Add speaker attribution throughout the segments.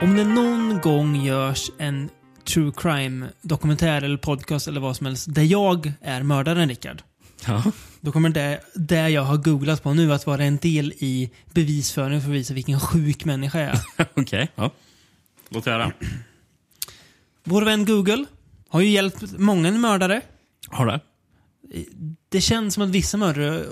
Speaker 1: Om det någon gång görs en true crime-dokumentär eller podcast eller vad som helst där jag är mördaren, Rickard.
Speaker 2: Ja.
Speaker 1: Då kommer det, det jag har googlat på nu att vara en del i bevisföringen för att visa vilken sjuk människa jag är.
Speaker 2: Okej. Ja. Låt höra.
Speaker 1: Vår vän Google har ju hjälpt många mördare.
Speaker 2: Har du?
Speaker 1: Det känns som att vissa mördare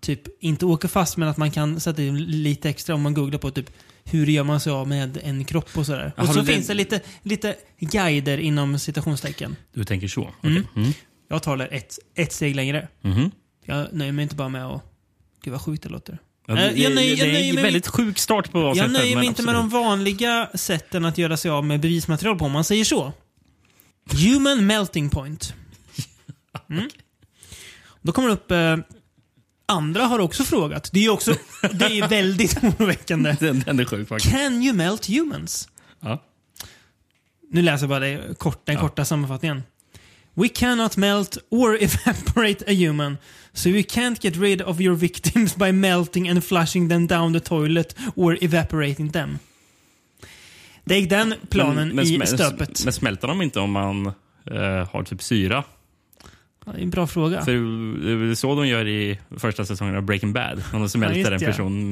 Speaker 1: typ inte åker fast men att man kan sätta in lite extra om man googlar på typ hur gör man sig av med en kropp och sådär.
Speaker 2: Ja,
Speaker 1: och
Speaker 2: har
Speaker 1: så
Speaker 2: du den-
Speaker 1: finns det lite, lite guider inom citationstecken.
Speaker 2: Du tänker så? Okej.
Speaker 1: Mm.
Speaker 2: Mm.
Speaker 1: Jag tar det ett, ett steg längre.
Speaker 2: Mhm.
Speaker 1: Jag nöjer mig inte bara med att... Gud vad sjukt det låter.
Speaker 2: Ja,
Speaker 1: Äh,
Speaker 2: det,
Speaker 1: jag nöjer- jag
Speaker 2: det är
Speaker 1: nöjer
Speaker 2: en
Speaker 1: mig-
Speaker 2: väldigt sjuk start på avsnittet.
Speaker 1: Jag nöjer
Speaker 2: men
Speaker 1: mig inte med de
Speaker 2: absolut.
Speaker 1: vanliga sätten att göra sig av med bevismaterial på, om man säger så. Human melting point. Mm. Då kommer det upp... Eh, andra har också frågat. Det är ju också det är ju väldigt oroväckande.
Speaker 2: Den, den är sjuk faktiskt.
Speaker 1: Can you melt humans?
Speaker 2: Ja.
Speaker 1: Nu läser jag bara det, kort, den korta sammanfattningen. We cannot melt or evaporate a human, so you can't get rid of your victims by melting and flushing them down the toilet or evaporating them. Det gick den planen i
Speaker 2: smä-
Speaker 1: stöpet.
Speaker 2: Men smälter de inte om man eh, har typ syra?
Speaker 1: Ja, det är en bra fråga.
Speaker 2: För det är väl så de gör i första säsongen av Breaking Bad. Om de smälter
Speaker 1: just
Speaker 2: en
Speaker 1: det.
Speaker 2: person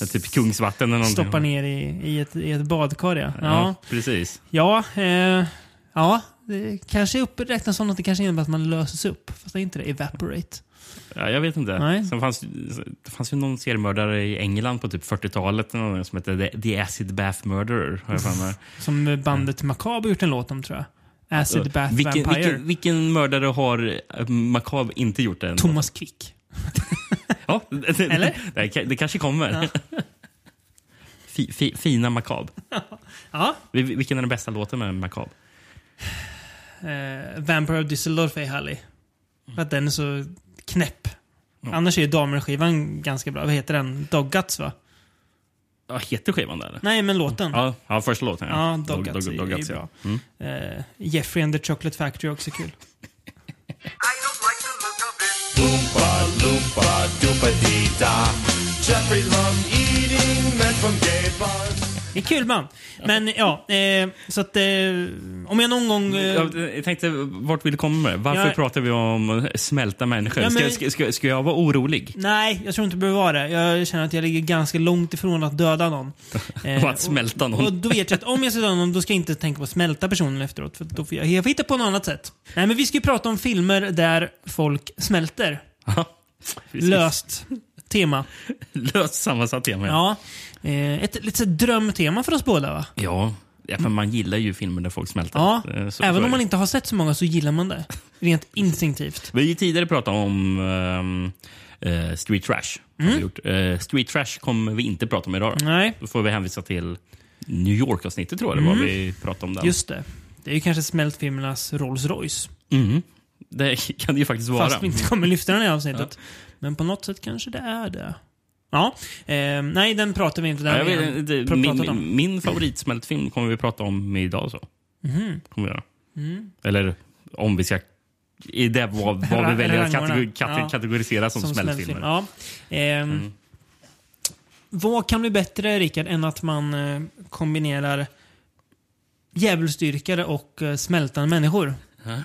Speaker 2: med typ kungsvatten eller någonting.
Speaker 1: Stoppa ner i, i, ett, i ett badkar, ja.
Speaker 2: Ja,
Speaker 1: Ja,
Speaker 2: precis.
Speaker 1: ja, eh, ja det kanske uppräknas som något. Det kanske innebär att man löses upp. Fast det är inte det. Evaporate.
Speaker 2: Ja, jag vet inte.
Speaker 1: Nej.
Speaker 2: Sen fanns, det fanns ju någon seriemördare i England på typ 40-talet eller någon som hette The- The Acid Bath Murderer. Har jag för mig.
Speaker 1: Som bandet Macabre gjort en låt om tror jag. Acid Bath
Speaker 2: Mm. vilken,
Speaker 1: Vampire.
Speaker 2: vilken, vilken mördare har eh, Macabre inte gjort än?
Speaker 1: Thomas Quick.
Speaker 2: Ja, det, det-
Speaker 1: Eller?
Speaker 2: Det, ka- det kanske kommer. Fi, fi, fina Macabre.
Speaker 1: Ja.
Speaker 2: Vi- Vilken är den bästa låten med Macabre?
Speaker 1: Eh, Vampire of Düsseldorf är härlig.
Speaker 2: Mm.
Speaker 1: För att den är så knäpp. Annars är ju Damer-skivan ganska bra. Vad heter den? Dog Guts va?
Speaker 2: Ja, heter skivan det? eller?
Speaker 1: Nej, men låten.
Speaker 2: Ja, ja, första låten.
Speaker 1: Ja, Dog Guts är- är
Speaker 2: Dog Guts,
Speaker 1: bra.
Speaker 2: ja. Mm.
Speaker 1: Eh, Jeffrey and the Chocolate Factory är också kul.
Speaker 3: I don't like the look of it.
Speaker 4: Oompa loompa doopa dee da. Jeffrey Lum eating men from gay bars.
Speaker 1: Det är kul man. Men ja, eh, så att eh, om jag någon gång... Eh,
Speaker 2: Jag jag tänkte, vart vill du komma med det? Varför
Speaker 1: Ja.
Speaker 2: pratar vi om smälta människor?
Speaker 1: Ja, men-
Speaker 2: ska, ska, ska, ska jag vara orolig?
Speaker 1: nej, jag tror inte det behöver vara det. Jag känner att jag ligger ganska långt ifrån att döda någon. Eh,
Speaker 2: Och att smälta någon?
Speaker 1: Och då vet jag att om jag ska döda någon, då ska jag inte tänka på att smälta personen efteråt. För då får jag, jag får hitta på något annat sätt. Nej, men vi ska ju prata om filmer där folk smälter.
Speaker 2: Ja, precis.
Speaker 1: Löst tema.
Speaker 2: Löst sammansatt tema. Ja.
Speaker 1: Ja. Eh, ett lite så här drömtema för oss båda va?
Speaker 2: Ja. ja, men man gillar ju filmer där folk smälter.
Speaker 1: Ja.
Speaker 2: Eh, så-
Speaker 1: Även
Speaker 2: så är
Speaker 1: om man
Speaker 2: det.
Speaker 1: inte har sett så många så gillar man det. Rent instinktivt.
Speaker 2: Vi har ju tidigare pratat om ehm, eh, street trash. Har
Speaker 1: Mm.
Speaker 2: vi gjort. Eh, street trash kommer vi inte prata om idag. Då,
Speaker 1: Nej,
Speaker 2: då får vi hänvisa till New York-avsnittet tror jag det var vi pratade om. Den.
Speaker 1: Mm. just det. Det är ju kanske smältfilmernas Rolls Royce.
Speaker 2: Mhm. Det kan det ju faktiskt vara.
Speaker 1: Fast vi inte kommer lyfta den i avsnittet. Men på något sätt kanske det är det. Ja. Eh, nej, den pratar vi inte. Den
Speaker 2: Ja,
Speaker 1: har
Speaker 2: jag
Speaker 1: vi
Speaker 2: vet,
Speaker 1: redan
Speaker 2: inte.
Speaker 1: pr-
Speaker 2: min,
Speaker 1: pratat om.
Speaker 2: min, min favoritsmältfilm kommer vi prata om idag. Så.
Speaker 1: Mhm.
Speaker 2: Kommer vi göra. Eller om vi ska... I det vad, vad vi
Speaker 1: Ra-
Speaker 2: väljer att
Speaker 1: rangordna.
Speaker 2: kategor, kate,
Speaker 1: Ja.
Speaker 2: kategorisera som, Mm. smältfilmer.
Speaker 1: Ja. Ehm, Vad kan bli bättre, Rickard, än att man eh, kombinerar djävulsdyrkare och eh, smältande människor?
Speaker 2: Eh,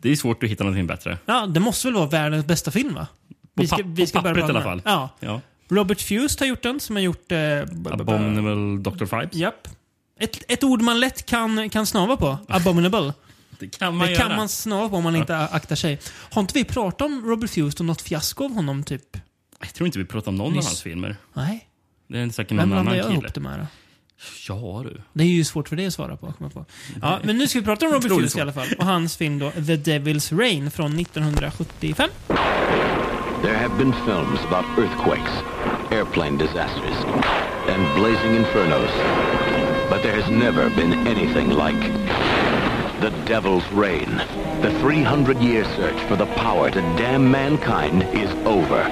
Speaker 2: Det är svårt att hitta någonting bättre.
Speaker 1: Ja, det måste väl vara världens bästa film, va?
Speaker 2: På pap- på
Speaker 1: börja
Speaker 2: pappret
Speaker 1: prata
Speaker 2: i alla
Speaker 1: om
Speaker 2: fall.
Speaker 1: den. Ja.
Speaker 2: Ja.
Speaker 1: Robert Fust har gjort den, som har gjort... Eh, b- b-
Speaker 2: Abominable Dr. Fibes.
Speaker 1: Japp. Ett, ett ord man lätt kan, kan snava på. Abominable.
Speaker 2: Det kan man
Speaker 1: Det
Speaker 2: göra.
Speaker 1: kan man snava på om man inte aktar sig. Har inte vi pratat om Robert Fust och något fiasko av honom, typ?
Speaker 2: Jag tror inte vi pratar om någon av
Speaker 1: Nyss.
Speaker 2: hans filmer.
Speaker 1: Nej.
Speaker 2: Det är säkert
Speaker 1: Vem
Speaker 2: någon
Speaker 1: blandar
Speaker 2: annan
Speaker 1: jag
Speaker 2: kille.
Speaker 1: ihop det med? Då?
Speaker 2: Ja du.
Speaker 1: Det är ju svårt för dig att svara på. Komma på. Ja, men nu ska vi prata om Robert
Speaker 2: Mm. Otroligt
Speaker 1: Hughes i
Speaker 2: svårt.
Speaker 1: alla fall. Och hans film då, The Devil's Rain från 1975.
Speaker 5: There have been films about earthquakes, airplane disasters, and blazing infernos. But there has never been anything like The Devil's Reign. The 300-year search for the power to damn mankind is over.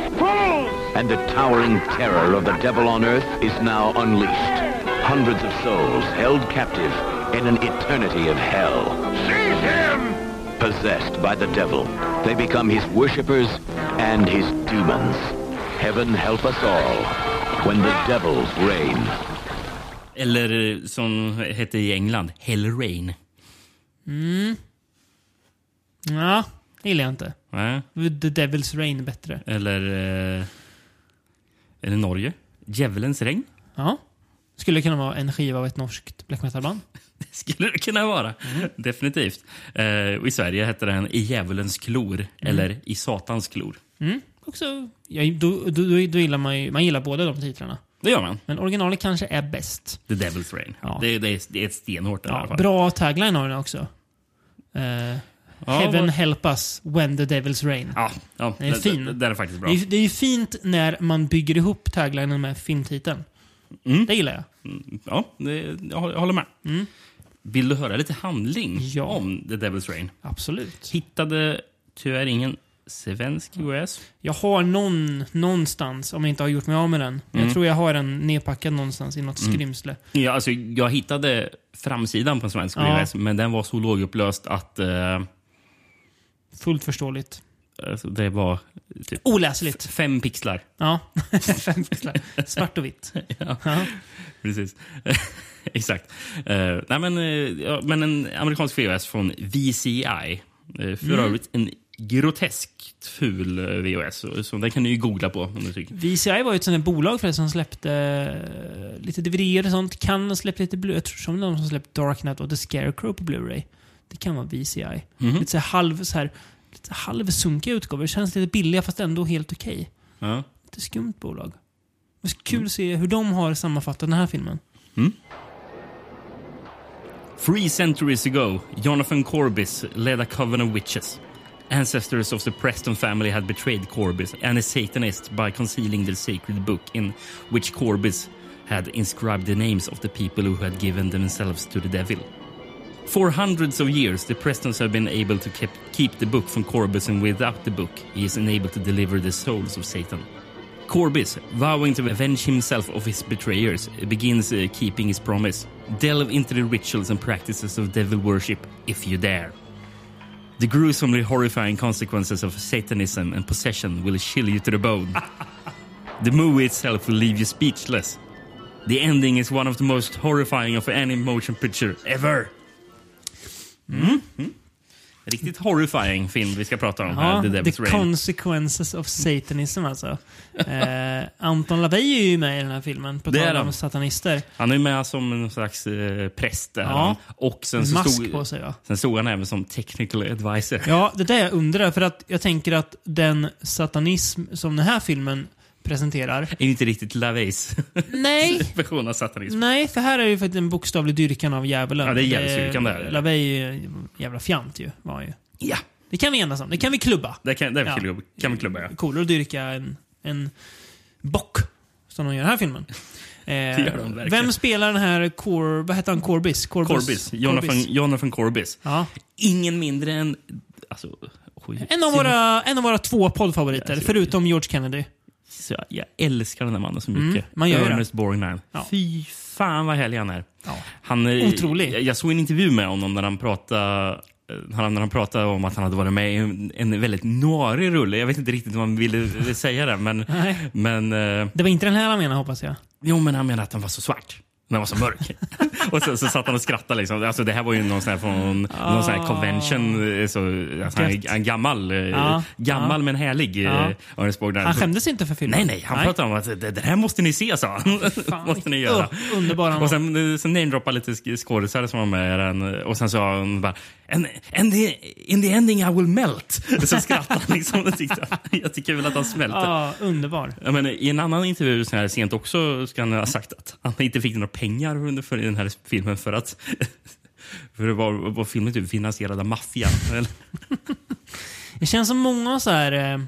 Speaker 5: And the towering terror of the devil on earth is now unleashed. Hundreds of souls held captive in an eternity of hell. Seize him! Possessed by the devil, they become his worshippers and his demons. Heaven help us all when the devils reign.
Speaker 2: Eller eh, som hette i England, Hell Rain.
Speaker 1: Ja, det gillar jag inte.
Speaker 2: Nej.
Speaker 1: The Devil's Rain är bättre.
Speaker 2: Eller... Eh, eller Norge. Djävulens regn.
Speaker 1: Ja. Skulle kunna vara en skiva av ett norskt black metal-band.
Speaker 2: Det skulle det kunna vara.
Speaker 1: Mm.
Speaker 2: Definitivt. Eh, och I Sverige hette den I djävulens klor eller I satans klor.
Speaker 1: Mm. Också, ja, då, då, då, då gillar man ju, man gillar båda de titlarna.
Speaker 2: Det gör man.
Speaker 1: Men originalet kanske är bäst.
Speaker 2: The Devil's Rain.
Speaker 1: Ja.
Speaker 2: Det, det, är, det är ett stenhårt i alla fall.
Speaker 1: Bra tagline har den också. Eh,
Speaker 2: Ja,
Speaker 1: Heaven
Speaker 2: vad-
Speaker 1: help us when the devil's rain.
Speaker 2: Ja, ja
Speaker 1: Den är
Speaker 2: det-
Speaker 1: fin.
Speaker 2: Det, det är faktiskt bra.
Speaker 1: Det, är, det är ju fint när man bygger ihop taglinen med filmtiteln.
Speaker 2: Mm.
Speaker 1: Det gillar jag.
Speaker 2: Ja, det, jag hå- jag håller med. Vill du höra lite handling
Speaker 1: Mm. Ja.
Speaker 2: om The Devil's Rain?
Speaker 1: Absolut.
Speaker 2: Hittade tyvärr ingen svensk US.
Speaker 1: Jag har någon någonstans, om jag inte har gjort mig av med den. Jag tror jag har den nedpackad någonstans i något skrymsle.
Speaker 2: Ja, alltså, jag hittade framsidan på en svensk
Speaker 1: Ja.
Speaker 2: US, men den var så lågupplöst att eh,
Speaker 1: Fullt förståeligt.
Speaker 2: alltså, det var typ
Speaker 1: Oläsligt.
Speaker 2: fem pixlar.
Speaker 1: Ja. Fem pixlar. Svart och vitt.
Speaker 2: Precis. Exakt. Eh, nej, men, eh, ja, men en amerikansk VHS från VCI. Uh, för övrigt en groteskt ful eh, VHS. Så, så den kan ni ju googla på om ni tycker.
Speaker 1: VCI var ju ett sånt där bolag förresten som släppte eh, lite DVD och sånt. Kan ha släppt lite Blu-ray. Jag tror som de som släppte Dark Knight och The Scarecrow på Blu-ray. Det kan vara VCI. Lite så här halv, så här, lite halvsunkiga utgåvor. Det känns lite billiga fast ändå helt okej.
Speaker 2: Ja.
Speaker 1: Lite skumt bolag. Det är kul att se hur de har sammanfattat den här filmen.
Speaker 2: Three centuries ago, Jonathan Corbis led a coven of witches. Ancestors of the Preston family had betrayed Corbis and a Satanist by concealing their sacred book in which Corbis had inscribed the names of the people who had given themselves to the devil. For hundreds of years, the Prestons have been able to keep, keep the book from Corbis, and without the book, he is unable to deliver the souls of Satan. Corbis, vowing to avenge himself of his betrayers, begins uh, keeping his promise. Delve into the rituals and practices of devil worship if you dare. The gruesomely horrifying consequences of Satanism and possession will chill you to the bone. the movie itself will leave you speechless. The ending is one of the most horrifying of any motion picture ever. Mm. Mm. Riktigt horrifying film vi ska prata om här,
Speaker 1: Ja,
Speaker 2: The
Speaker 1: the,
Speaker 2: Devil's Reign.
Speaker 1: Consequences of Satanism alltså. eh, Anton LaVey är ju med i den här filmen, på
Speaker 2: Det är
Speaker 1: tal om
Speaker 2: han.
Speaker 1: satanister.
Speaker 2: Han är ju med som en slags eh, präst. Där,
Speaker 1: Ja.
Speaker 2: han. Och sen så
Speaker 1: Mask
Speaker 2: stod,
Speaker 1: på sig va?
Speaker 2: Sen såg han även som technical advisor.
Speaker 1: Ja, det där jag undrar. För att jag tänker att den satanism som den här filmen presenterar.
Speaker 2: Är ju inte riktigt Laveys
Speaker 1: Nej!
Speaker 2: version av satanism.
Speaker 1: Nej, för här är ju faktiskt en bokstavlig dyrkan av djävulen.
Speaker 2: Ja, det är djävulsdyrkan där.
Speaker 1: Lavey är ju en jävla fjant ju. Var han ju.
Speaker 2: Ja,
Speaker 1: Det kan vi enas om. Det kan vi klubba.
Speaker 2: det kan, det
Speaker 1: Ja.
Speaker 2: kan, kan vi klubba. Ja.
Speaker 1: Coolare att dyrka en, en bock, som de gör i den här filmen. Eh,
Speaker 2: gör de verkligen.
Speaker 1: vem spelar den här Cor... Vad heter han? Corbis? Corbus?
Speaker 2: Corbis. Jonathan,
Speaker 1: Corbis.
Speaker 2: Jonathan Corbis.
Speaker 1: Ja.
Speaker 2: Ingen mindre än... Alltså, oj,
Speaker 1: En, av våra, en av våra två poddfavoriter,
Speaker 2: Alltså,
Speaker 1: förutom George Kennedy.
Speaker 2: Så jag, jag älskar den här mannen så
Speaker 1: Mm,
Speaker 2: mycket.
Speaker 1: man gör det.
Speaker 2: Ernest Borgnine.
Speaker 1: Ja.
Speaker 2: Fy fan vad härlig han är.
Speaker 1: Ja.
Speaker 2: Han, är-
Speaker 1: Otrolig.
Speaker 2: Jag, jag såg en intervju med honom när han pratade när han, när han pratade om att han hade varit med i en, en väldigt noirig rulle. Jag vet inte riktigt vad han ville säga där, men...
Speaker 1: Nej.
Speaker 2: men eh,
Speaker 1: Det var inte den här han menade hoppas jag.
Speaker 2: Jo, men han menade att han var så svart. Men han var så mörk. och så, så satt han och skrattade. Liksom. Alltså, det här var ju någon sån här, från, någon sån här
Speaker 1: Ah.
Speaker 2: convention. eh, Så, alltså, han,
Speaker 1: Gött.
Speaker 2: är- han är gammal, eh,
Speaker 1: Ja,
Speaker 2: gammal men härlig. eh,
Speaker 1: Ja.
Speaker 2: Ja. Ernest Borgnine.
Speaker 1: Han skämdes inte för filmen.
Speaker 2: Nej, nej. Han pratade om att det, det här måste ni se, sa han. måste ni göra.
Speaker 1: Upp, underbar han
Speaker 2: Och sen, eh, sen namedroppade lite sk- skådisar som var med i den. eh, Och sen sa hon bara and, and the, “In the ending I will melt”. Så skrattade han. Liksom. Jag tyckte, jag tycker väl att han smälte.
Speaker 1: Ja, underbar.
Speaker 2: Ja, men I en annan intervju så här sent också ska han ha sagt att han inte fick några pengar under för den här filmen för att för det var, var filmen typ finansierad av maffian. eller?
Speaker 1: Det känns som många så här eh,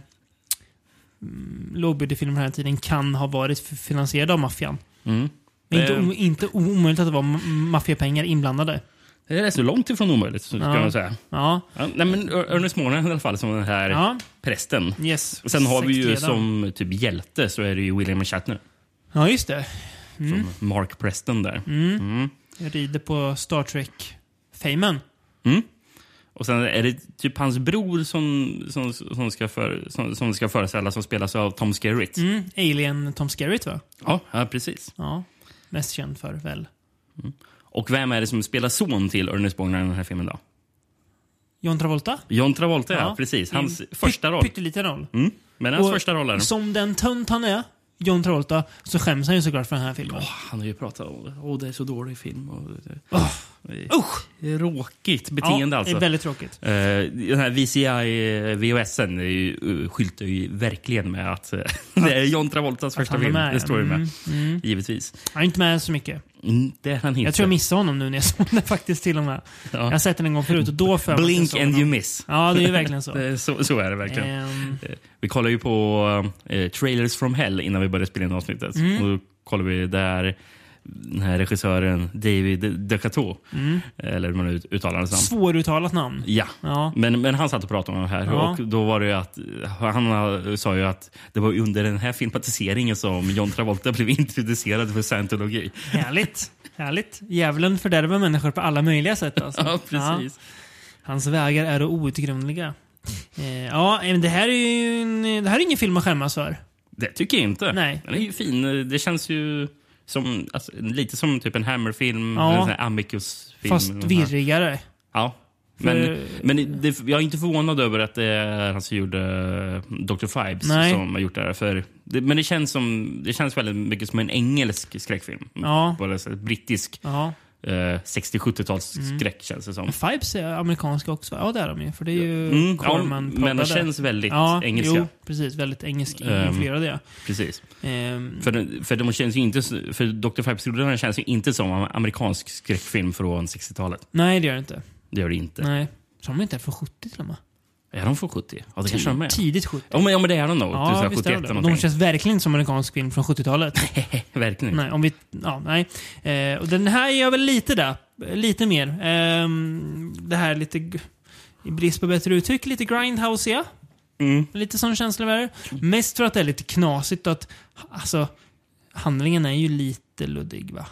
Speaker 1: mm, lågbudgetfilmer på den här tiden kan ha varit f- finansierade av maffian. Men inte,
Speaker 2: Eh.
Speaker 1: o- inte o- omöjligt att det var m- maffiapengar inblandade.
Speaker 2: Det är rätt så långt ifrån omöjligt, så
Speaker 1: Ja.
Speaker 2: ska man säga.
Speaker 1: Ja,
Speaker 2: Ja, nej, men Ör- Ernest Morgan i alla fall, som den här
Speaker 1: Ja.
Speaker 2: prästen.
Speaker 1: yes.
Speaker 2: Sen har vi ju
Speaker 1: Sektledaren.
Speaker 2: som typ hjälte så är det ju William Shatner.
Speaker 1: Ja, just det.
Speaker 2: Som Mark Preston där.
Speaker 1: Jag rider på Star Trek-famen.
Speaker 2: Och sen är det typ hans bror som, som, som, ska, för, som, som ska föreställa som spelas av Tom Skerritt.
Speaker 1: Mm, Alien Tom Skerritt va?
Speaker 2: Ja, ja, precis.
Speaker 1: Ja. Mest känd för, väl?
Speaker 2: Och vem är det som spelar son till Ernest Borgnine i den här filmen då?
Speaker 1: John Travolta?
Speaker 2: John Travolta, ja.
Speaker 1: Ja.
Speaker 2: precis.
Speaker 1: I en
Speaker 2: Hans första
Speaker 1: pytt-
Speaker 2: roll.
Speaker 1: Pytteliten roll.
Speaker 2: Mm. Men hans
Speaker 1: Och
Speaker 2: första roll är den.
Speaker 1: Som den tönt han är, John Travolta, så skäms han ju såklart för den här filmen.
Speaker 2: Han har ju pratat om åh det är så dålig film. Och,
Speaker 1: Åh,
Speaker 2: Usch! Råkigt beteende
Speaker 1: ja,
Speaker 2: alltså.
Speaker 1: Det är väldigt tråkigt.
Speaker 2: Eh, den här eh, VCI-VHSen skyltar ju verkligen med att eh, det är John Travoltas första
Speaker 1: han är
Speaker 2: film.
Speaker 1: med,
Speaker 2: Det står ju med.
Speaker 1: mm,
Speaker 2: Givetvis.
Speaker 1: Han är inte med så mycket.
Speaker 2: Mm, Det är han inte.
Speaker 1: Jag tror jag missade honom nu när jag såg den faktiskt till och med. Jag har sett den en gång förut och då för mig att jag
Speaker 2: Blink
Speaker 1: såg
Speaker 2: and
Speaker 1: honom.
Speaker 2: you miss.
Speaker 1: Ja, det är ju verkligen så.
Speaker 2: Det är så, så är det verkligen.
Speaker 1: Ehm,
Speaker 2: Eh, Vi kollar ju på eh, Trailers from Hell innan vi började spela in avsnittet.
Speaker 1: Mm.
Speaker 2: Och då kollar vi där den här regissören David DeCateau,
Speaker 1: Mm.
Speaker 2: eller hur man ut- uttalar hans namn.
Speaker 1: svåruttalat namn.
Speaker 2: Ja.
Speaker 1: Ja.
Speaker 2: Men, men han satt och pratade om det här
Speaker 1: Ja.
Speaker 2: och då var det ju att han sa ju att det var under den här filmatiseringen som John Travolta blev introducerad för scientologi.
Speaker 1: Härligt. Härligt. Djävulen fördärvar människor på alla möjliga sätt. Alltså.
Speaker 2: Ja, precis.
Speaker 1: Hans vägar är outgrundliga. Eh, ja, men det här är ju en, det här är ingen film att skämmas för.
Speaker 2: Det tycker jag inte.
Speaker 1: Nej.
Speaker 2: Den är ju fin. Det känns ju som, alltså, lite som typ en Hammer-film,
Speaker 1: Ja.
Speaker 2: eller en sån här Amicus-film.
Speaker 1: Fast
Speaker 2: eller nåt här.
Speaker 1: virrigare.
Speaker 2: Ja. Men, men det, jag är inte förvånad över att det är han som gjorde Dr. Fibes
Speaker 1: Nej.
Speaker 2: som har gjort det här. För det, men det känns, som, det känns väldigt mycket som en engelsk skräckfilm.
Speaker 1: Ja.
Speaker 2: På det sättet. Brittisk
Speaker 1: Ja.
Speaker 2: eh, 60-70-tals
Speaker 1: Mm.
Speaker 2: skräck känns det som.
Speaker 1: Fibes är amerikanska också. va? Ja, det är de ju. För det är ju
Speaker 2: Mm, ja,
Speaker 1: Corman
Speaker 2: men det
Speaker 1: proddade.
Speaker 2: känns väldigt
Speaker 1: ja,
Speaker 2: engelska.
Speaker 1: Jo, precis. Väldigt engelsk
Speaker 2: Ehm.
Speaker 1: influerade ja.
Speaker 2: Precis.
Speaker 1: Ehm,
Speaker 2: För, den- för, de känns ju inte, s- för Dr. Fibes-rullarna känns ju inte som en amerikansk skräckfilm från 60-talet.
Speaker 1: nej, det gör det inte.
Speaker 2: Det gör det inte.
Speaker 1: Nej. Som de inte är från 70 till och med.
Speaker 2: Är de från 70? Ja, det kanske de är.
Speaker 1: Tidigt 70.
Speaker 2: Ja, men, ja, men det är de nog. Typ
Speaker 1: Ja, visst är
Speaker 2: 71
Speaker 1: det.
Speaker 2: eller
Speaker 1: det.
Speaker 2: någonting.
Speaker 1: De känns verkligen inte som amerikansk film från 70-talet.
Speaker 2: Verkligen.
Speaker 1: Nej, om vi, ja, nej. Eh, och den här gör väl lite där. Lite mer. Ehm, det här lite, g- i brist på bättre uttryck, lite grindhouseiga.
Speaker 2: Mm.
Speaker 1: Lite sån känsla med det. Mest för att det är lite knasigt och att, alltså, handlingen är ju lite luddig va?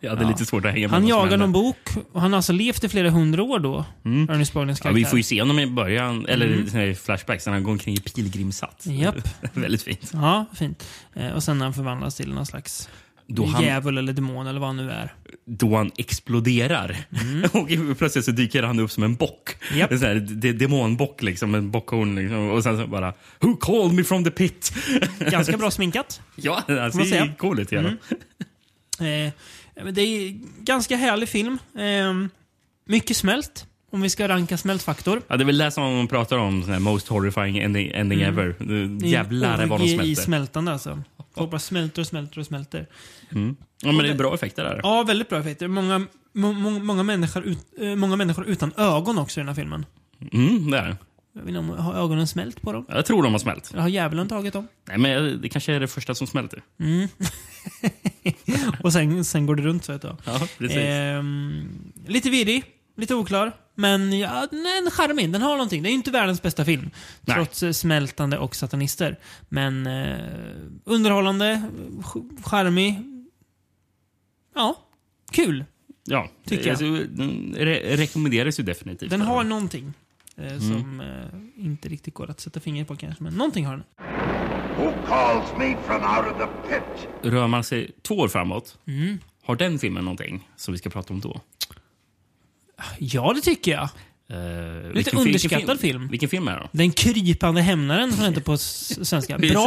Speaker 2: Jag hade
Speaker 1: Ja.
Speaker 2: lite svårt att hänga med
Speaker 1: Han
Speaker 2: vad som
Speaker 1: jagar
Speaker 2: hände.
Speaker 1: någon bok och han har alltså levt i flera hundra år då, Ernest Borgnings
Speaker 2: Mm. Ja,
Speaker 1: karaktär.
Speaker 2: vi får ju se honom i början, eller mm. flashbacks, när han går omkring i pilgrimshatt.
Speaker 1: Japp.
Speaker 2: Väldigt fint.
Speaker 1: Ja, fint. Eh, och sen när han förvandlas till någon slags
Speaker 2: Då han,
Speaker 1: djävul eller demon eller vad han nu är.
Speaker 2: då han exploderar. och plötsligt så dyker han upp som en bock.
Speaker 1: Mm. Japp.
Speaker 2: En sån här de- demonbock, liksom, en bockhorn. Liksom. Och sen så bara, who called me from the pit?
Speaker 1: Ganska bra sminkat.
Speaker 2: ja, alltså, han
Speaker 1: man
Speaker 2: ser ju
Speaker 1: säga?
Speaker 2: cool ut. Mm.
Speaker 1: Eh, men det är ganska härlig film. Eh, mycket smält, om vi ska ranka smältfaktor.
Speaker 2: Ja, det är väl det som man pratar om, sån här most horrifying ending, ending ever. Jävlar vad de
Speaker 1: Orgie Mm. i
Speaker 2: smälter.
Speaker 1: smältande alltså. Folk bara smälter och smälter och smälter.
Speaker 2: Mm. Ja, men det är bra effekter där.
Speaker 1: Ja, väldigt bra effekter. Många, må, må, många, människor ut, eh, många människor utan ögon också i den här filmen.
Speaker 2: Mm, det är. det.
Speaker 1: Jag vet inte om har ögonen smält på dem.
Speaker 2: Jag tror de har smält.
Speaker 1: Eller har djävulen tagit dem?
Speaker 2: Nej, men det kanske är det första som smälter.
Speaker 1: Och sen, sen går det runt så ett tag.
Speaker 2: Ja, precis.
Speaker 1: Ehm, lite virrig, lite oklar. Men ja, den är en charmig. Den har någonting. Det är ju inte världens bästa film.
Speaker 2: Nej.
Speaker 1: Trots eh, smältande och satanister. Men eh, underhållande, ch- charmig. Ja, kul.
Speaker 2: Ja,
Speaker 1: Tycker jag.
Speaker 2: alltså, den re rekommenderas ju definitivt.
Speaker 1: Den har någonting eh,
Speaker 2: Mm.
Speaker 1: som eh, inte riktigt går att sätta fingret på kanske. Men någonting har den.
Speaker 3: Who calls me from out of the pit?
Speaker 2: Rör man sig två år framåt,
Speaker 1: Mm.
Speaker 2: har den filmen någonting som vi ska prata om då?
Speaker 1: Ja, det tycker jag.
Speaker 2: Uh,
Speaker 1: underskattad film.
Speaker 2: Vilken film är det?
Speaker 1: Den krypande hämnaren som heter på s- svenska. Bra
Speaker 2: Precis.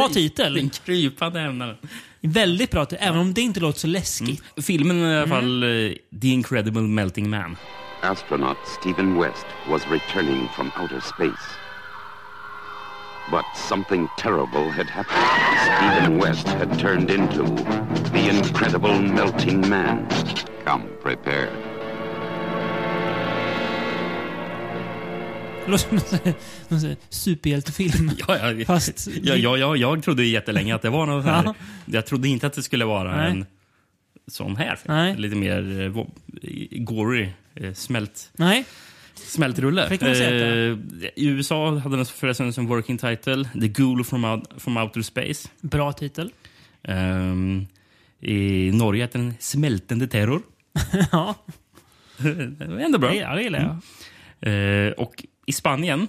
Speaker 1: titel.
Speaker 2: Den krypande hämnaren.
Speaker 1: Väldigt bra titel. Även om det inte låter så läskigt.
Speaker 2: Mm. Filmen är i alla fall
Speaker 1: Mm.
Speaker 2: eh, The Incredible Melting Man.
Speaker 5: Astronaut Stephen West was returning from outer space. But something terrible had happened. Stephen West had turned into the incredible melting man. Come prepared.
Speaker 1: Det låter som en sån här- någon sån här superhjältefilm.
Speaker 2: Ja, ja,
Speaker 1: Fast-
Speaker 2: ja, ja, ja, jag trodde ju jättelänge att det var någon sån här.
Speaker 1: Ja.
Speaker 2: Jag trodde inte att det skulle vara
Speaker 1: Nej.
Speaker 2: en sån här film.
Speaker 1: Nej.
Speaker 2: Lite mer eh, vo- gory, eh, smält
Speaker 1: Nej,
Speaker 2: Smältrulle.
Speaker 1: Fick man säga
Speaker 2: Eh, I USA hade den förresten som working title The Ghoul from, out, from Outer Space.
Speaker 1: bra titel.
Speaker 2: Ehm, I Norge hette den Smältende Terror.
Speaker 1: Ja,
Speaker 2: Det var ändå bra.
Speaker 1: det, ja, det gillar jag.
Speaker 2: Eh, och i Spanien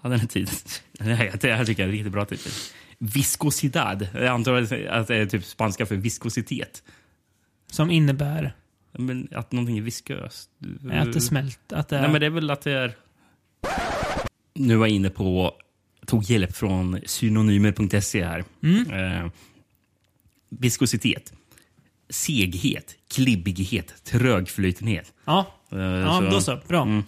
Speaker 2: hade den titeln... Det här det här tycker jag är en riktigt bra titel. Viscosidad. Jag antar att det är typ spanska för typ viskositet.
Speaker 1: som innebär
Speaker 2: Men att någonting är visköst.
Speaker 1: att det smälter. Att det,
Speaker 2: Mm. Nej, men det är väl att det är... Nu var jag inne på... Tog hjälp från synonymer.se här. Eh, viskositet. Seghet. Klibbighet. Trögflytenhet.
Speaker 1: ja,
Speaker 2: Eh,
Speaker 1: ja då så. Bra.
Speaker 2: Mm.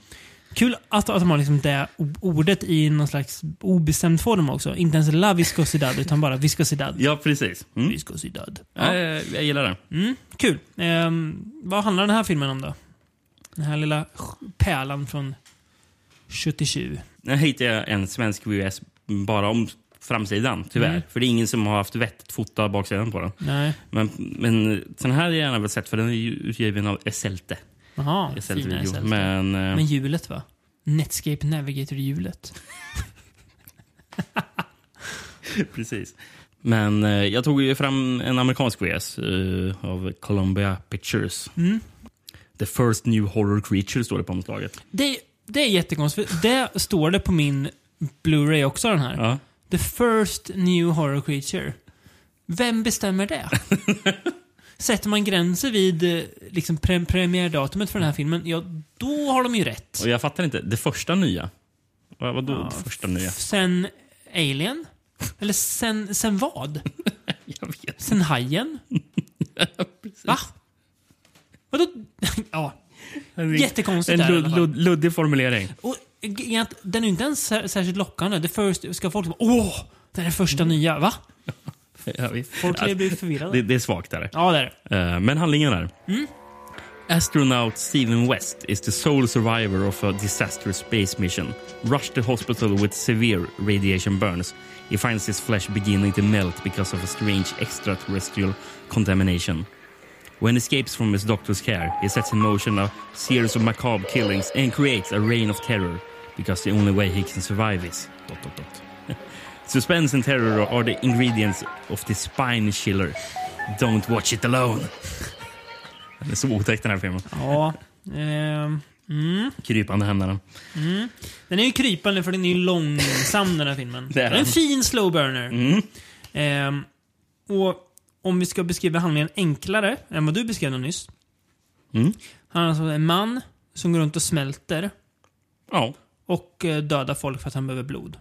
Speaker 1: Kul att, att de har liksom det o- ordet i någon slags obestämd form också. Inte ens la viscosidad, utan bara viscosidad.
Speaker 2: Ja, precis. Mm.
Speaker 1: Viscosidad. Ja.
Speaker 2: Ja. jag- jag gillar det.
Speaker 1: Mm, kul. Ehm, vad handlar den här filmen om då? Den här lilla sj- pärlan från 77.
Speaker 2: Nu hittade jag en svensk VHS bara om framsidan, tyvärr. För det är ingen som har haft vett att fota baksidan på den.
Speaker 1: Nej.
Speaker 2: Men, men den här har jag gärna väl sett, för den är ju utgiven av Esselte.
Speaker 1: Jaha,
Speaker 2: Esselte
Speaker 1: fina
Speaker 2: video.
Speaker 1: SLT.
Speaker 2: Men, eh,
Speaker 1: Men hjulet va? Netscape Navigator-hjulet.
Speaker 2: Precis. Men eh, jag tog ju fram en amerikansk VS eh, av Columbia Pictures.
Speaker 1: Mm.
Speaker 2: The first new horror creature står det på omslaget.
Speaker 1: Det, det är jättekonstigt. för Det står det på min Blu-ray också den här.
Speaker 2: Ja.
Speaker 1: The first new horror creature. Vem bestämmer det? Sätter man gränser vid eh, liksom, pre premiärdatumet för den här filmen, ja då har de ju rätt.
Speaker 2: Och jag fattar inte, det första nya? Vad, vadå det första nya?
Speaker 1: Sen Alien? Eller sen, sen vad?
Speaker 2: Jag vet.
Speaker 1: Sen Hajen? Va? Vadå? ja. Jättekonstigt där
Speaker 2: En
Speaker 1: i
Speaker 2: lud,
Speaker 1: alla fall.
Speaker 2: lud, luddig formulering.
Speaker 1: Och grejen är att den är ju inte ens sär- särskilt lockande. Det först, ska folk bara åh, det här är första nya, va?
Speaker 2: Jag vet.
Speaker 1: Folk
Speaker 2: Alltså,
Speaker 1: blir förvirrade.
Speaker 2: Mm. det, det är svagt där.
Speaker 1: Ja, det är det.
Speaker 2: Eh, men handlingen är. Astronaut Stephen West is the sole survivor of a disastrous space mission. Rushed to hospital with severe radiation burns, he finds his flesh beginning to melt because of a strange extraterrestrial contamination. When escapes from his doctor's care, he sets in motion a series of macabre killings and creates a reign of terror because the only way he can survive is... Dot, dot, dot. Suspense and terror are the ingredients of the spine chiller. Don't watch it alone. Den är så otäck den här filmen.
Speaker 1: Ja. ehm,
Speaker 2: Krypande hämnaren.
Speaker 1: den är ju krypande för den är ju långsam den här filmen.
Speaker 2: Det är
Speaker 1: den är en
Speaker 2: den. Mm.
Speaker 1: fin slow burner. Ehm, och om vi ska beskriva handlingen enklare än vad du beskrev den nyss.
Speaker 2: Mm.
Speaker 1: Han är alltså en man som går runt och smälter
Speaker 2: Ja,
Speaker 1: och eh, dödar folk för att han behöver blod.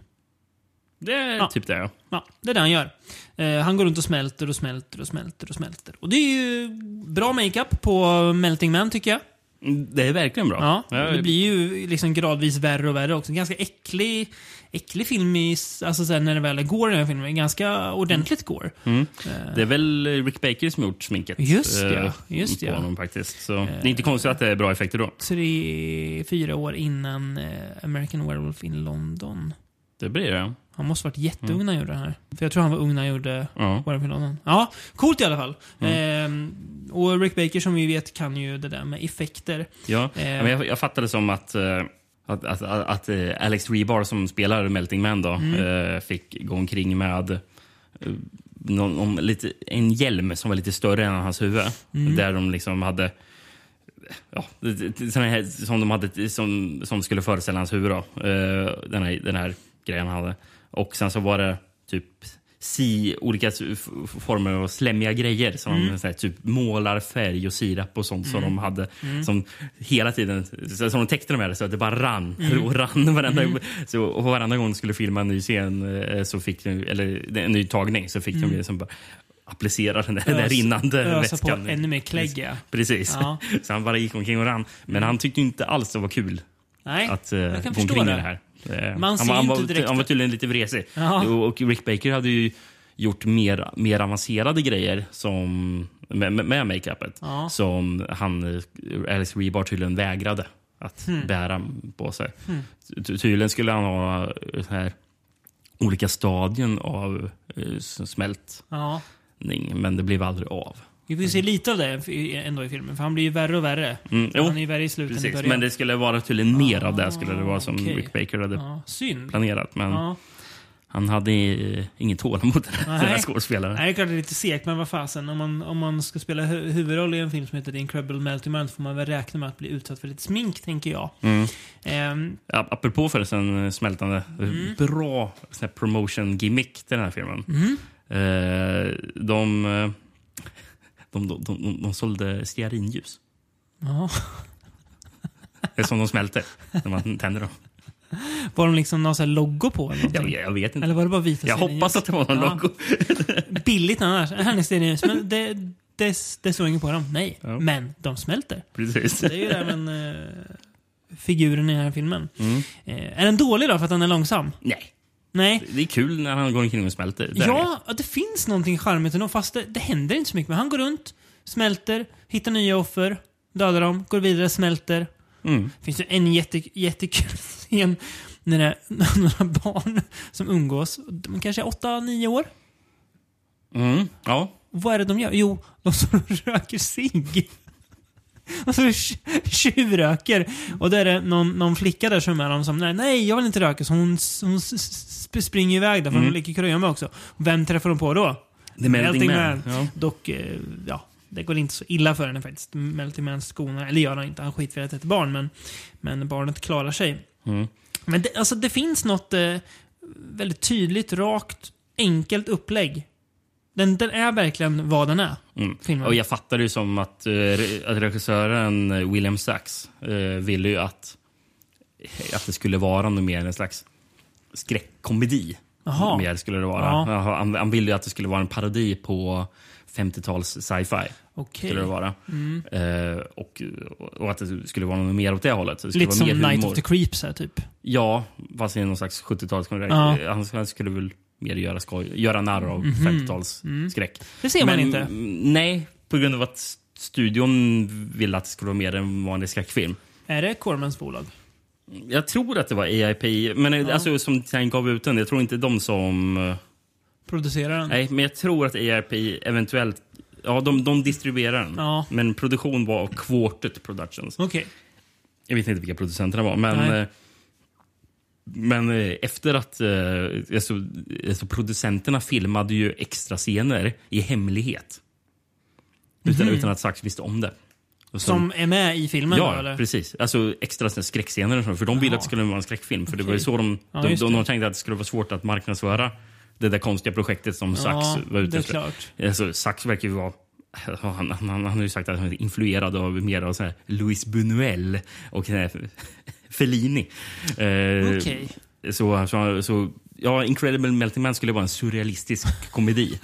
Speaker 2: det är
Speaker 1: Ja.
Speaker 2: typ det. Ja.
Speaker 1: Ja, det är det han gör. Eh, han går runt och smälter och smälter och smälter och smälter. Och det är ju bra makeup på Melting Man tycker jag.
Speaker 2: Mm, Det är verkligen bra.
Speaker 1: Ja,
Speaker 2: Jag-
Speaker 1: det blir ju liksom gradvis värre och värre också. En ganska äcklig, äcklig film i, alltså sen när det väl går i den här filmen. Ganska ordentligt går.
Speaker 2: det är väl Rick Baker som gjort sminket.
Speaker 1: Just det,
Speaker 2: eh,
Speaker 1: just
Speaker 2: på
Speaker 1: det. Eh.
Speaker 2: Honom, faktiskt. Så Det är inte konstigt att det är bra effekter då.
Speaker 1: Tre, fyra år innan eh, American Werewolf in London.
Speaker 2: Det blir det.
Speaker 1: Han måste varit jätteung när han gjorde det här. För jag tror han var ung när han gjorde
Speaker 2: Ja.
Speaker 1: Warren Finlanden. Mm. Ja, Mm. coolt i alla fall. Ehm, och Rick Baker som vi vet kan ju det där med effekter.
Speaker 2: Ja.
Speaker 1: Eh.
Speaker 2: Men jag, jag fattade som att, eh, att, att, att, att eh, Alex Rebar som spelar Melting Man då, eh, fick gå omkring med eh, någon, någon, lite, en hjälm som var lite större än hans huvud. Där de liksom hade Ja, det- det- såna här, som de hade som, som skulle föreställa hans huvud. Då. Eh, den, här, den här grejen han hade. Och sen så var det typ si, olika s- f- f- former av slemmiga grejer. Som
Speaker 1: Mm.
Speaker 2: så här, typ målarfärg och sirap och sånt som de hade.
Speaker 1: Mm.
Speaker 2: Som hela tiden så- som de täckte de här så att det bara rann
Speaker 1: Mm.
Speaker 2: och rann. Varenda, så, och varenda gång de skulle filma en ny scen eh, så fick de, eller en ny tagning så fick de liksom bara applicera den där, den där
Speaker 1: Ös-
Speaker 2: rinnande
Speaker 1: Mm. ösa på
Speaker 2: vätskan.
Speaker 1: ännu mer klägg, ja.
Speaker 2: Precis.
Speaker 1: Ja.
Speaker 2: Så han bara gick omkring och rann. Men han tyckte ju inte alls det var kul
Speaker 1: Nej,
Speaker 2: att eh,
Speaker 1: jag kan
Speaker 2: gå
Speaker 1: förstå
Speaker 2: omkring
Speaker 1: det.
Speaker 2: i det här. Eh,
Speaker 1: Man ser
Speaker 2: han,
Speaker 1: ju
Speaker 2: han,
Speaker 1: inte
Speaker 2: var,
Speaker 1: direkt
Speaker 2: han var
Speaker 1: att-
Speaker 2: tydligen lite vresig.
Speaker 1: Ja.
Speaker 2: Jo, Och Rick Baker hade ju gjort mer, mer avancerade grejer som, med, med- med makeupet
Speaker 1: Ja.
Speaker 2: som han, eh, Alice Rebar tydligen vägrade att
Speaker 1: Hmm.
Speaker 2: bära på sig. Ty- Tydligen skulle han ha eh, så här, olika stadion av eh, s- smältning,
Speaker 1: Ja.
Speaker 2: men det blev aldrig av.
Speaker 1: Vi får ju se lite av det i- ändå i filmen, för han blir ju värre och värre.
Speaker 2: Mm, jo.
Speaker 1: Han är ju värre i slutet än i
Speaker 2: Precis,
Speaker 1: början.
Speaker 2: men det skulle vara tydligen mer av det skulle det vara som
Speaker 1: okej.
Speaker 2: Rick Baker hade
Speaker 1: ja, synd.
Speaker 2: planerat. Men
Speaker 1: Ja.
Speaker 2: han hade eh, inget tålamod den här, den här
Speaker 1: Nej.
Speaker 2: skådespelaren.
Speaker 1: Nej, det är klart det är lite segt, men vad fasen. Om man, om man ska spela hu huvudroll i en film som heter The Incredible Melting Man får man väl räkna med att bli utsatt för lite smink, tänker jag.
Speaker 2: Mm.
Speaker 1: Ehm,
Speaker 2: A- Apropå förresten eh, smältande,
Speaker 1: Mm.
Speaker 2: bra sån här
Speaker 1: Mm.
Speaker 2: promotion gimmick till den här filmen. Eh, de, eh, de, de, de, de sålde stearinljus.
Speaker 1: Jaha.
Speaker 2: Det är som de smälter när man tänder dem.
Speaker 1: Var de liksom någon sån här logo på eller
Speaker 2: Jag,
Speaker 1: någonting?
Speaker 2: jag vet
Speaker 1: Eller
Speaker 2: inte.
Speaker 1: var det bara vita
Speaker 2: Jag
Speaker 1: stearinljus?
Speaker 2: hoppas att det var någon
Speaker 1: Ja.
Speaker 2: logo.
Speaker 1: Billigt annars. Här är stearinljus. Men det, det, det står inget på dem. Nej.
Speaker 2: Ja.
Speaker 1: Men de smälter.
Speaker 2: Precis.
Speaker 1: Det är ju även eh, figuren i den här filmen.
Speaker 2: Mm.
Speaker 1: Eh, är den dålig då för att den är långsam?
Speaker 2: Nej,
Speaker 1: Nej.
Speaker 2: det är kul när han går omkring och smälter. Där är det.
Speaker 1: Ja, det finns någonting charmigt ändå, fast det, det händer inte så mycket. Men han går runt, smälter, hittar nya offer, dödar dem, går vidare, smälter.
Speaker 2: Mm.
Speaker 1: Det finns ju en jätte, jättekul scen när det är några barn som umgås. De kanske är 8-9 år.
Speaker 2: Mm. Ja.
Speaker 1: Vad är det de gör? Jo, de står och röker cigg. De står och tj- tjuvröker. Och där är det någon, någon flicka där som är med dem som nej, nej, jag vill inte röka. Så hon, s- hon s- s- springer iväg där för hon leker kurragömma med också. Vem träffar hon på då?
Speaker 2: The Mm. Melting Man. Ja.
Speaker 1: Dock, eh, ja, det går inte så illa för henne faktiskt. Melting Man skonar, eller gör han inte, han skiter i att det är ett barn. Men, men barnet klarar sig.
Speaker 2: Mm.
Speaker 1: Men det, alltså, det finns något eh, väldigt tydligt, rakt, enkelt upplägg. Den, den är verkligen vad den är.
Speaker 2: Mm.
Speaker 1: Filmen.
Speaker 2: Och jag fattar det som att, eh, re- att regissören eh, William Sachs eh, ville ju att, eh, att det skulle vara något mer än en slags skräckkomedi.
Speaker 1: Jaha.
Speaker 2: Mer skulle det vara.
Speaker 1: Ja.
Speaker 2: Jaha, Han, han ville ju att det skulle vara en parodi på 50-tals sci-fi.
Speaker 1: Okej. Mm.
Speaker 2: Skulle det vara. Eh, och, och att det skulle vara något mer åt det hållet. Så det skulle
Speaker 1: Lite
Speaker 2: vara
Speaker 1: som
Speaker 2: mer
Speaker 1: Night
Speaker 2: humor.
Speaker 1: of the Creeps här typ.
Speaker 2: Ja, fast i någon slags 70-talskomedi.
Speaker 1: Ja. Mhm.
Speaker 2: Han, han skulle väl mer göra, skoj, göra narr av
Speaker 1: Mm.
Speaker 2: 50-talsskräck.
Speaker 1: Det ser man inte.
Speaker 2: mm, Nej, på grund av att s- studion ville att det skulle vara mer en vanlig skräckfilm.
Speaker 1: Är det Cormans bolag?
Speaker 2: Jag tror att det var AIP, men eh, alltså, som sen gav ut den. Jag tror inte de som... eh,
Speaker 1: Producerar den?
Speaker 2: Nej, men jag tror att AIP eventuellt... Ja, de, de distribuerar den.
Speaker 1: Ja.
Speaker 2: Men produktion var av Quartet Productions.
Speaker 1: Okej.
Speaker 2: Jag vet inte vilka producenterna var, men...
Speaker 1: Nej.
Speaker 2: eh, Men eh, efter att... eh, Alltså, alltså producenterna filmade ju extra scener i hemlighet. Utan, utan att Sachs visste om det. Och så-
Speaker 1: Mhm. Som är med i filmen då
Speaker 2: Ja,
Speaker 1: eller?
Speaker 2: precis. Alltså extra såna skräckscener och så. För de ville
Speaker 1: Jaha.
Speaker 2: att det skulle vara en skräckfilm. För det
Speaker 1: Okej.
Speaker 2: var ju så de,
Speaker 1: Ja,
Speaker 2: de,
Speaker 1: just
Speaker 2: de,
Speaker 1: det.
Speaker 2: de tänkte att det skulle vara svårt att marknadsföra det där konstiga projektet som Sachs var
Speaker 1: det
Speaker 2: ute
Speaker 1: är
Speaker 2: efter.
Speaker 1: klart.
Speaker 2: Alltså, Sachs verkar ju vara... Han, han, han har ju sagt att han är influerad av mer av så här Louis Buñuel och den här Fellini. Eh,
Speaker 1: Okej.
Speaker 2: så, så, så, ja, Incredible Melting Man skulle vara en surrealistisk komedi.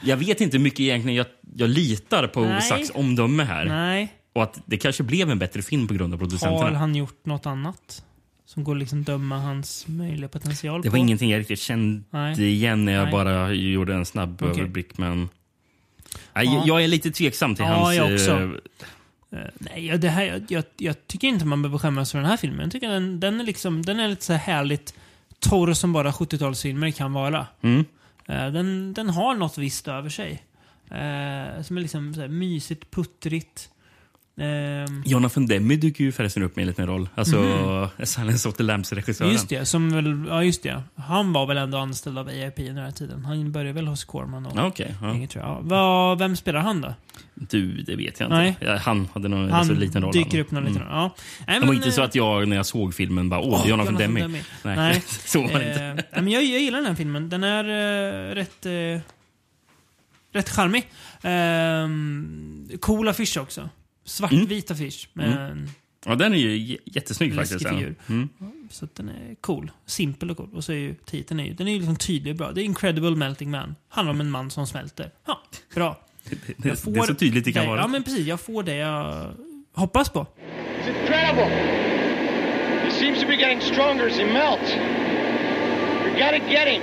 Speaker 2: jag vet inte hur mycket egentligen jag, jag litar på
Speaker 1: Nej.
Speaker 2: Sachs omdöme här.
Speaker 1: Nej.
Speaker 2: Och att det kanske blev en bättre film på grund av
Speaker 1: Har
Speaker 2: producenterna.
Speaker 1: han gjort något annat? Som går liksom döma hans möjliga potential
Speaker 2: Det
Speaker 1: på?
Speaker 2: var ingenting jag riktigt kände
Speaker 1: Nej.
Speaker 2: igen när jag
Speaker 1: Nej.
Speaker 2: bara gjorde en snabb
Speaker 1: Okej.
Speaker 2: överblick. Men... Nej,
Speaker 1: Ja.
Speaker 2: Jag är lite tveksam till
Speaker 1: Ja,
Speaker 2: hans...
Speaker 1: jag också.
Speaker 2: eh,
Speaker 1: Nej, ja, det här, jag, jag, jag tycker inte man behöver skämmas för den här filmen. Jag tycker den, den är liksom, den är lite så här härligt torr som bara 70-talsfilmer kan vara.
Speaker 2: Mm.
Speaker 1: Eh, den, den har något visst över sig. Eh, som är liksom så här mysigt, puttrigt. Ehm,
Speaker 2: Jonathan Demme dyker ju förresten upp med en liten roll. Alltså Silence of the Lambs-regissören.
Speaker 1: Mhm. just det, som väl, ja just det. Han var väl ändå anställd av AIP den här tiden. Han började väl hos Corman och
Speaker 2: Ja, Okej. ja.
Speaker 1: inget tror jag. Ja, vad- vem spelar han då?
Speaker 2: Du, det vet jag inte.
Speaker 1: Nej.
Speaker 2: Ja, Han hade någon
Speaker 1: Han
Speaker 2: så liten roll.
Speaker 1: dyker
Speaker 2: han.
Speaker 1: upp någon liten roll. Ja. Nej,
Speaker 2: Det var
Speaker 1: men, eh,
Speaker 2: inte så att jag när jag såg filmen bara åh, Jonathan,
Speaker 1: Jonathan
Speaker 2: Demme.
Speaker 1: Demme.
Speaker 2: Nej,
Speaker 1: Nej.
Speaker 2: så var det inte.
Speaker 1: Eh, nej, men jag, jag gillar den här filmen. Den är eh, rätt, eh, rätt charmig. Eh, cool affisch också. Svartvit affisch med en
Speaker 2: Ja, den är ju j- jättesnygg
Speaker 1: läskig
Speaker 2: Mm. faktiskt.
Speaker 1: figur.
Speaker 2: ja. Mm.
Speaker 1: Så att den är cool. Simpel och cool. Och så är ju titeln är ju, den är ju liksom tydlig och bra. Det är Incredible Melting Man. Handlar om en man som smälter. Ja, bra.
Speaker 2: Det,
Speaker 1: Jag
Speaker 2: det är
Speaker 1: får
Speaker 2: så tydligt det kan
Speaker 1: det-
Speaker 2: vara.
Speaker 1: Ja, men precis. Jag får det jag hoppas på.
Speaker 6: It's incredible. He seems to be getting stronger as he melts. We gotta get him.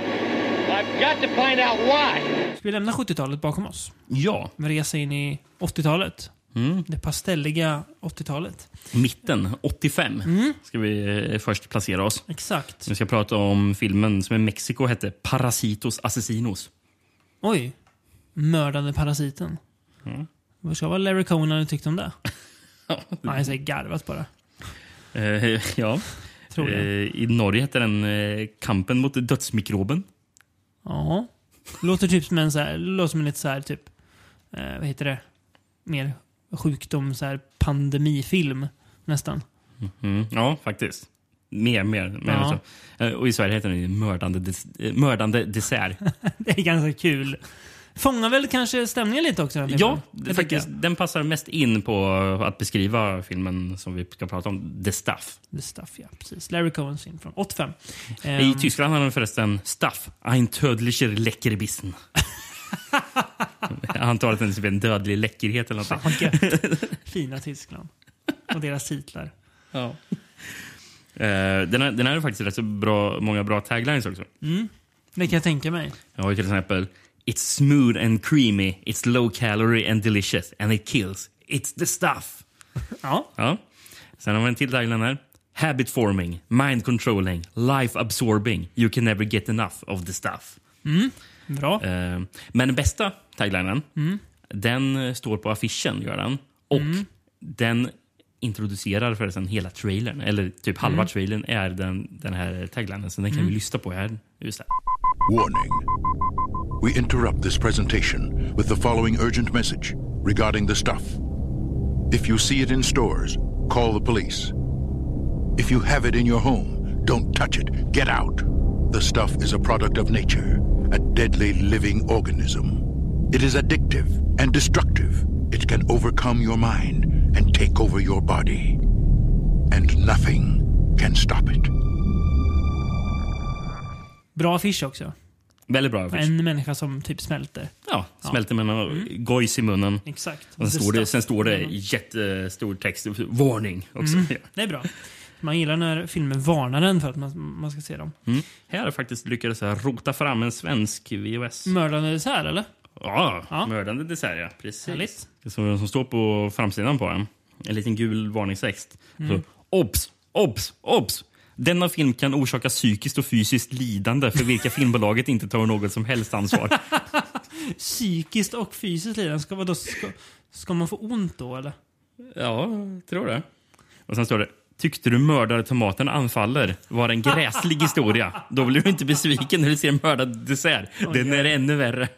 Speaker 6: I've got to find out why.
Speaker 1: Ska vi lämna 70-talet bakom oss?
Speaker 2: ja,
Speaker 1: Resa in i 80-talet.
Speaker 2: Mm.
Speaker 1: Det pastelliga 80-talet.
Speaker 2: mitten, 85,
Speaker 1: Mm.
Speaker 2: ska vi eh, först placera oss.
Speaker 1: Exakt.
Speaker 2: Vi ska prata om filmen som i Mexiko hette Parasitos Assassinos.
Speaker 1: Oj. Mördande parasiten. Mm. Vad ska vad Larry Conan tyckte om det? ja, han säger garvat bara.
Speaker 2: Eh, ja.
Speaker 1: Tror jag.
Speaker 2: Eh, I Norge hette den eh, Kampen mot dödsmikroben.
Speaker 1: Ja. Låter typ som en så här, låter som en lite så här typ, eh, vad heter det? Mer sjukdom, så här pandemifilm nästan.
Speaker 2: Mm, ja, faktiskt. Mer, mer. mer
Speaker 1: Ja.
Speaker 2: än så. Eh, Och i Sverige heter den ju Mördande, des- eh, mördande dessert.
Speaker 1: Det är ganska kul. Fångar väl kanske stämningen lite också? den filmen?
Speaker 2: Ja,
Speaker 1: Det
Speaker 2: det,
Speaker 1: tycker
Speaker 2: faktiskt.
Speaker 1: jag.
Speaker 2: Den passar mest in på att beskriva filmen som vi ska prata om, The Stuff.
Speaker 1: The Stuff, ja. Precis. Larry Cohens film från 85.
Speaker 2: I
Speaker 1: Ehm,
Speaker 2: Tyskland hade den förresten Staff, ein tödlicher Leckerbissen. Jag antar att den är typ en dödlig läckerhet eller något.
Speaker 1: Fan vad gött. Fina Tyskland. Och deras titlar.
Speaker 2: Eh, Den här, den här är faktiskt rätt så bra, många bra taglines också.
Speaker 1: Det kan jag tänka mig.
Speaker 2: Jag har ju till exempel It's smooth and creamy, it's low calorie and delicious and it kills. It's the stuff.
Speaker 1: Ja.
Speaker 2: Ja. Sen har vi en till tagline här. Habit forming, mind controlling, life absorbing. You can never get enough of the stuff.
Speaker 1: Bra.
Speaker 2: Eh, men den bästa taglinen, den eh, står på affischen, gör den. Och den introducerar förresten hela trailern, eller typ halva trailern är den, den här taglinen. Så den kan vi lyssna på här. Just det.
Speaker 7: Warning. We interrupt this presentation with the following urgent message regarding the stuff. If you see it in stores, call the police. If you have it in your home, don't touch it. Get out. The stuff is a product of nature, a deadly living organism. It is addictive and destructive. It can overcome your mind and take over your body. And nothing can stop it.
Speaker 1: Bra affisch också.
Speaker 2: Väldigt bra affisch.
Speaker 1: En människa som typ smälter.
Speaker 2: Ja, smälter med någon gojs i munnen.
Speaker 1: Exakt.
Speaker 2: Och sen, står det, sen står det
Speaker 1: Mm.
Speaker 2: jättestor text, varning också. Ja.
Speaker 1: Det är bra. Man gillar när filmer varnar en för att man, man ska se dem.
Speaker 2: Mm. Här har jag faktiskt lyckats så här rota fram en svensk VHS.
Speaker 1: Mördande dessert, eller?
Speaker 2: Mm. Ja,
Speaker 1: Ja.
Speaker 2: mördande dessert ja. Precis.
Speaker 1: Härligt.
Speaker 2: Det är som, som står på framsidan på den. En liten gul varningstext. Så, obs! Obs! Obs! Denna film kan orsaka psykiskt och fysiskt lidande för vilka filmbolaget inte tar något som helst ansvar.
Speaker 1: Psykiskt och fysiskt lidande. Ska, vadå, ska, ska man få ont då, eller?
Speaker 2: Ja, tror det. Och sen står det. Tyckte du mördartomaten anfaller var en gräslig historia. Då blir du inte besviken när du ser mördad dessert. Den är ännu värre.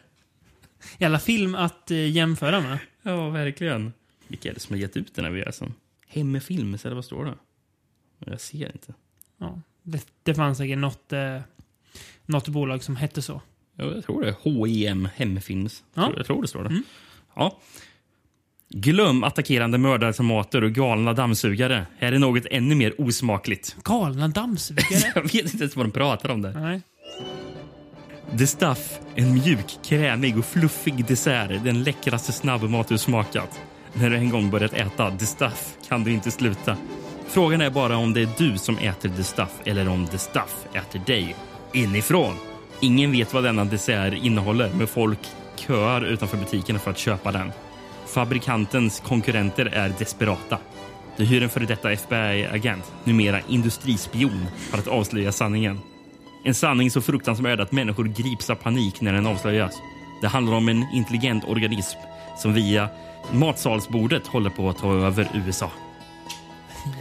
Speaker 1: Jävla film att eh, jämföra med.
Speaker 2: Ja, verkligen. Vilka är det som har gett ut den här VHSen? Hemmefilms, eller vad står det? Jag ser inte.
Speaker 1: Ja. Det, det fanns säkert något, eh, något bolag som hette så.
Speaker 2: Ja, jag tror det. H.I.M. Hemmefilms.
Speaker 1: Ja.
Speaker 2: Tror- Jag tror det står det. Ja. Glöm attackerande mördartomater och galna dammsugare. Här är något ännu mer osmakligt.
Speaker 1: Galna dammsugare.
Speaker 2: Jag vet inte ens vad de pratar om där.
Speaker 1: Nej.
Speaker 2: The Stuff, en mjuk, krämig och fluffig dessert. Den läckraste snabbmat du smakat. När du en gång börjat äta The Stuff kan du inte sluta. Frågan är bara om det är du som äter The Stuff eller om The Stuff äter dig. Inifrån. Ingen vet vad denna dessert innehåller, men folk köar utanför butikerna för att köpa den. Fabrikantens konkurrenter är desperata. De hyr en före detta FBI-agent, numera industrispion, för att avslöja sanningen. En sanning så fruktansvärd att människor grips av panik när den avslöjas. Det handlar om en intelligent organism som via matsalsbordet håller på att ta över USA.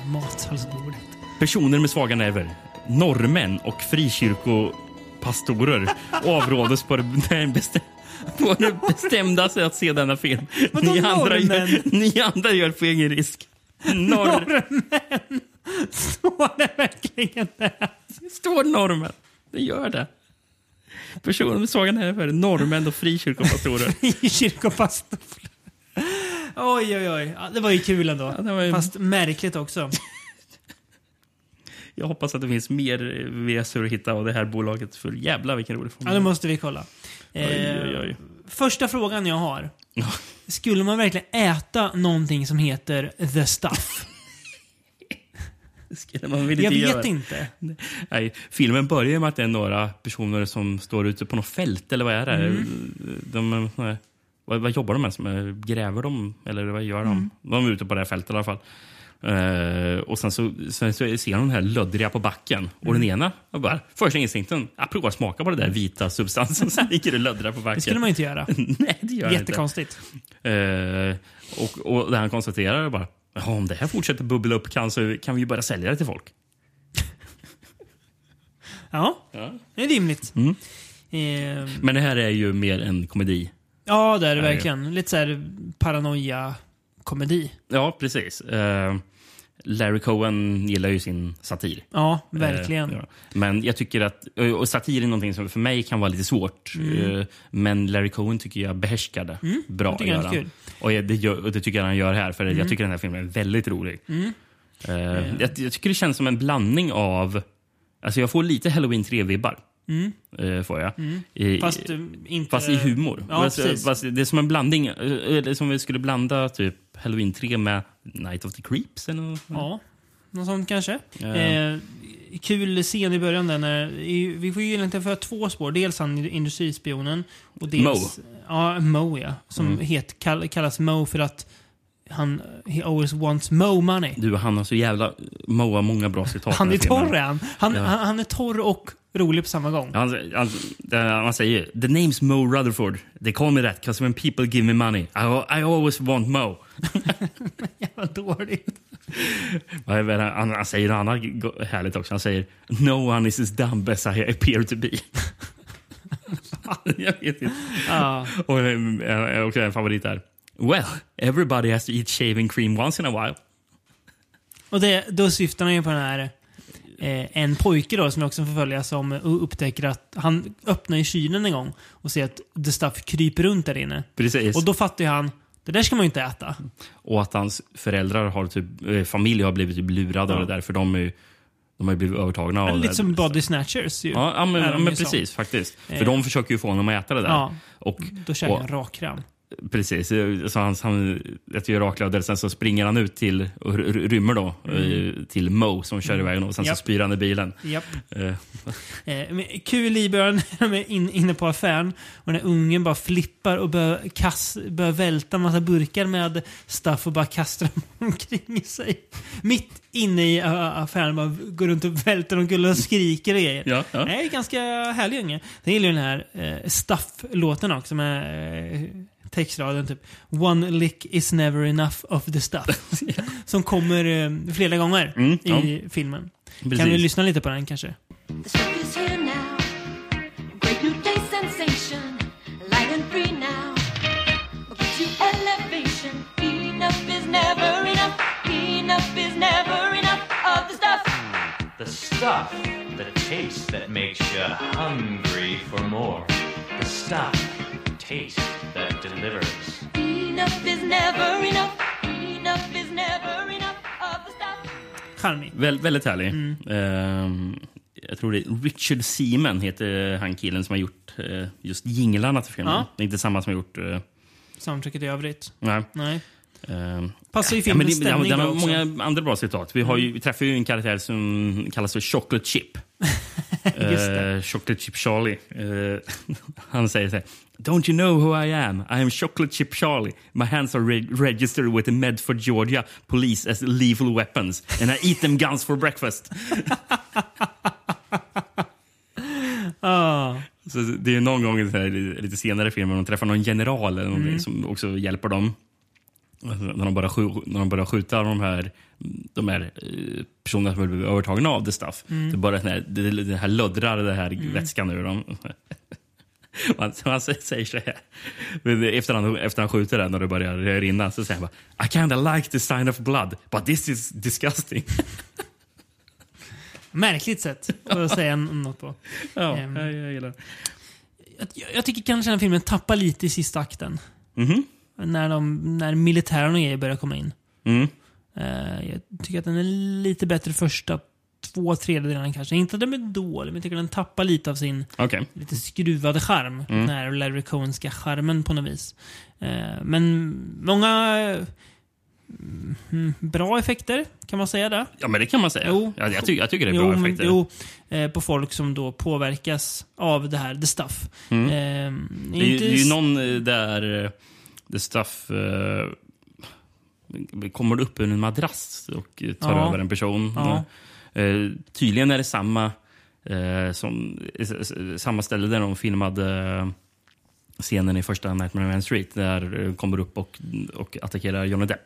Speaker 1: Matsalsbordet.
Speaker 2: Personer med svaga nerver, norrmän och frikyrkopastorer avrådes på det, den bestä- på det bestämdaste att se denna film.
Speaker 1: Vadå
Speaker 2: Ni andra,
Speaker 1: norrmän?
Speaker 2: gör, ni andra gör på egen risk. Norr,
Speaker 1: Står det verkligen där?
Speaker 2: står norrmän. Det gör det. Personer med svaga nerver, norrmän och frikyrkopastorer.
Speaker 1: I kyrkopastor. Oj, oj, oj. Ja, det var ju kul ändå.
Speaker 2: det var ju-
Speaker 1: Fast märkligt också.
Speaker 2: Jag hoppas att det finns mer VSR att hitta av det här bolaget. För jävla vilken rolig
Speaker 1: Ja,
Speaker 2: film.
Speaker 1: det måste vi kolla. Eh,
Speaker 2: Oj, oj, oj.
Speaker 1: Första frågan jag har. Skulle man verkligen äta någonting som heter the stuff?
Speaker 2: Skulle man vilja
Speaker 1: Jag
Speaker 2: göra.
Speaker 1: vet inte.
Speaker 2: Nej, filmen börjar med att det är några personer som står ute på något fält. Eller vad är det?
Speaker 1: Mm.
Speaker 2: De, är såna här- vad, vad jobbar de med? Som är, gräver de? Eller vad gör de?
Speaker 1: Mm.
Speaker 2: De är ute på det här fältet i alla fall. Eh, och sen så, sen så ser de den här löddriga på backen. Och
Speaker 1: Mm.
Speaker 2: den ena, jag bara, första instinkten, jag provar att smaka på den där vita substansen som ligger och löddrar på backen.
Speaker 1: Det skulle man ju inte göra.
Speaker 2: Nej, det gör jag inte.
Speaker 1: Jättekonstigt.
Speaker 2: Eh, och, och där han konstaterar bara "Ja, om det här fortsätter bubbla upp kan, så kan vi ju börja sälja det till folk.
Speaker 1: Ja, det är rimligt.
Speaker 2: Mm.
Speaker 1: Eh,
Speaker 2: Men det här är ju mer en komedi.
Speaker 1: ja, det är det
Speaker 2: Ja, ja.
Speaker 1: verkligen. Lite så här paranoia-komedi.
Speaker 2: Ja, precis. Eh, Larry Cohen gillar ju sin satir.
Speaker 1: Ja, verkligen.
Speaker 2: Eh, ja. Men jag tycker att eh, och satir är någonting som för mig kan vara lite svårt. Eh, Men Larry Cohen tycker jag behärskar det bra.
Speaker 1: Mm. det tycker jag är
Speaker 2: gör han.
Speaker 1: kul. Mm.
Speaker 2: Och jag- det, gör, och det tycker jag han gör här, för jag tycker den här filmen är väldigt rolig. Eh, Jag, jag tycker det känns som en blandning av... Alltså jag får lite Halloween 3-vibbar. Eh, Får jag. I-
Speaker 1: Mm. Fast eh, inte...
Speaker 2: Fast i humor.
Speaker 1: Ja,
Speaker 2: Fast-
Speaker 1: precis.
Speaker 2: fast det är som en blandning. eh, Eller som vi skulle blanda typ Halloween 3 med Night of the Creeps. Eller något.
Speaker 1: Ja, något sånt kanske.
Speaker 2: Ja.
Speaker 1: Mm. Eh, kul scen i början där när, i, vi får ju egentligen för två spår. Dels han industrispionen och dels... Mo. Ja, Mo ja. Som het, kall, kallas Mo för att han, he always wants Mo money.
Speaker 2: Du, han har så jävla många, många bra citat.
Speaker 1: Han
Speaker 2: i
Speaker 1: är
Speaker 2: den filmen.
Speaker 1: torr är han. Han, han. han är torr och rolig på samma gång.
Speaker 2: Han, han, det- han säger “The name's Mo Rutherford. They call me that because when people give me money, I, I always want Mo”.
Speaker 1: Jävla dåligt.
Speaker 2: Ja, jag vet, Han, han säger något annat go- härligt också. Han säger “No one is as dumb as I appear to be”. jag vet inte.
Speaker 1: Ja.
Speaker 2: Och eh, eh, också en favorit där. Well, everybody has to eat shaving cream once in a while.
Speaker 1: Och det, då syftar han ju på den här eh, en pojke då som jag också förföljer som eh, upptäcker att han öppnar i kylen en gång och ser att the stuff kryper runt där inne.
Speaker 2: Precis.
Speaker 1: Och då fattar ju han, det där ska man ju inte äta.
Speaker 2: Och att hans föräldrar har typ, eh, familj har blivit typ lurade av det där för de, är, ju- de har ju blivit övertagna av det.
Speaker 1: Lite som body snatchers ju.
Speaker 2: Ja, ja, men,
Speaker 1: Är de
Speaker 2: ja,
Speaker 1: ju
Speaker 2: men
Speaker 1: som.
Speaker 2: precis. Faktiskt. För
Speaker 1: Eh.
Speaker 2: de försöker ju få honom att äta det där.
Speaker 1: Ja.
Speaker 2: Och,
Speaker 1: Då käkar
Speaker 2: och-
Speaker 1: han rakkram.
Speaker 2: Precis. eh, Så han, han äter ju raklödder, sen så springer han ut till, och r- r- rymmer då, eh, till Mo som kör iväg honom. Sen
Speaker 1: Mm. Japp.
Speaker 2: så spyr han i bilen.
Speaker 1: Japp.
Speaker 2: Eh,
Speaker 1: Eh, men kul i början när de är in, inne på affären och när ungen bara flippar och börjar, kass, börjar välta en massa burkar med stuff och bara kastar dem omkring sig. Mitt inne i ä, affären bara går runt och välter omkull och skriker och grejer.
Speaker 2: Ja, ja.
Speaker 1: Nej, ganska härlig unge. Sen gillar jag den här eh, stuff-låten också med eh, textraden typ One lick is never enough of the stuff. Som kommer eh, flera gånger
Speaker 2: Mm, ja.
Speaker 1: i filmen. Kan vi
Speaker 2: Precis.
Speaker 1: lyssna lite på den kanske?
Speaker 8: The stuff is here now. Great new day sensation. Light and free now. Gives you elevation. Enough is never enough. Enough is never enough of the stuff.
Speaker 9: The stuff, the taste that makes you hungry for more. The stuff, taste that delivers.
Speaker 8: Enough is never enough. Enough is never enough of the stuff.
Speaker 1: Charmig.
Speaker 2: Väl, väldigt härlig.
Speaker 1: Mm.
Speaker 2: Ehm, jag tror det är Richard Seaman heter han killen som har gjort eh, just jinglarna till filmen.
Speaker 1: Ja.
Speaker 2: Det är inte samma som har gjort... eh,
Speaker 1: Soundtracket i övrigt.
Speaker 2: nej.
Speaker 1: Nej.
Speaker 2: Ehm,
Speaker 1: Passar ju
Speaker 2: Ja, men
Speaker 1: filmens
Speaker 2: det, den,
Speaker 1: stämning
Speaker 2: den
Speaker 1: bra
Speaker 2: har
Speaker 1: också. Mm.
Speaker 2: många andra bra citat. Vi, har ju, vi träffar ju en karaktär som kallas för Chocolate Chip.
Speaker 1: Just det.
Speaker 2: Eh, Chocolate Chip Charlie. Eh, han säger så här. Don't you know who I am? I am Chocolate Chip Charlie. My hands are reg- registered with the Medford, Georgia police as lethal weapons. And I eat them guns for breakfast. Så det är ju någon gång så här, lite senare i filmen de träffar någon general eller någonting
Speaker 1: Mm.
Speaker 2: som också hjälper dem. Alltså, När de börjar, skju- när de börjar skjuta de här, de här eh, personerna som blir övertagna av The Stuff.
Speaker 1: Mm.
Speaker 2: Det, börjar, den här, det, det här löddrar den här vätskan ur dem. Man, så han säger så här, efter han, efter han skjuter den och det börjar rinna så säger han bara I kinda like the sign of blood but this is disgusting.
Speaker 1: Märkligt sätt att säga n- något på.
Speaker 2: ja,
Speaker 1: Ehm.
Speaker 2: jag, jag gillar det.
Speaker 1: Jag, jag tycker kanske den här filmen tappar lite i sista akten.
Speaker 2: Mhm.
Speaker 1: När, de, när militären och grejer börjar komma in.
Speaker 2: Mm.
Speaker 1: Eh, jag tycker att den är lite bättre första två tredjedelarna kanske. Inte att den är dålig, men jag tycker att den tappar lite av sin
Speaker 2: Okej.
Speaker 1: lite skruvad charm.
Speaker 2: Mm.
Speaker 1: Den här Larry Cohenska charmen på något vis. Eh, men många eh, mm, bra effekter, kan man säga det?
Speaker 2: Ja, men det kan man säga.
Speaker 1: Jo.
Speaker 2: Ja, jag, tycker, jag tycker det är
Speaker 1: jo,
Speaker 2: bra
Speaker 1: men-
Speaker 2: effekter.
Speaker 1: Jo, eh, på folk som då påverkas av det här, the stuff. Eh,
Speaker 2: Mm. Det är, ju-
Speaker 1: inte
Speaker 2: det är ju
Speaker 1: s-
Speaker 2: någon eh, där eh, The Stuff eh, kommer upp ur en madrass och eh, tar
Speaker 1: Ja.
Speaker 2: över en person.
Speaker 1: Ja.
Speaker 2: Eh, tydligen är det samma, eh, som, s- s- samma ställe där de filmade eh, scenen i första Nightmare on Elm Street där eh, kommer upp och, och attackerar Johnny Depp.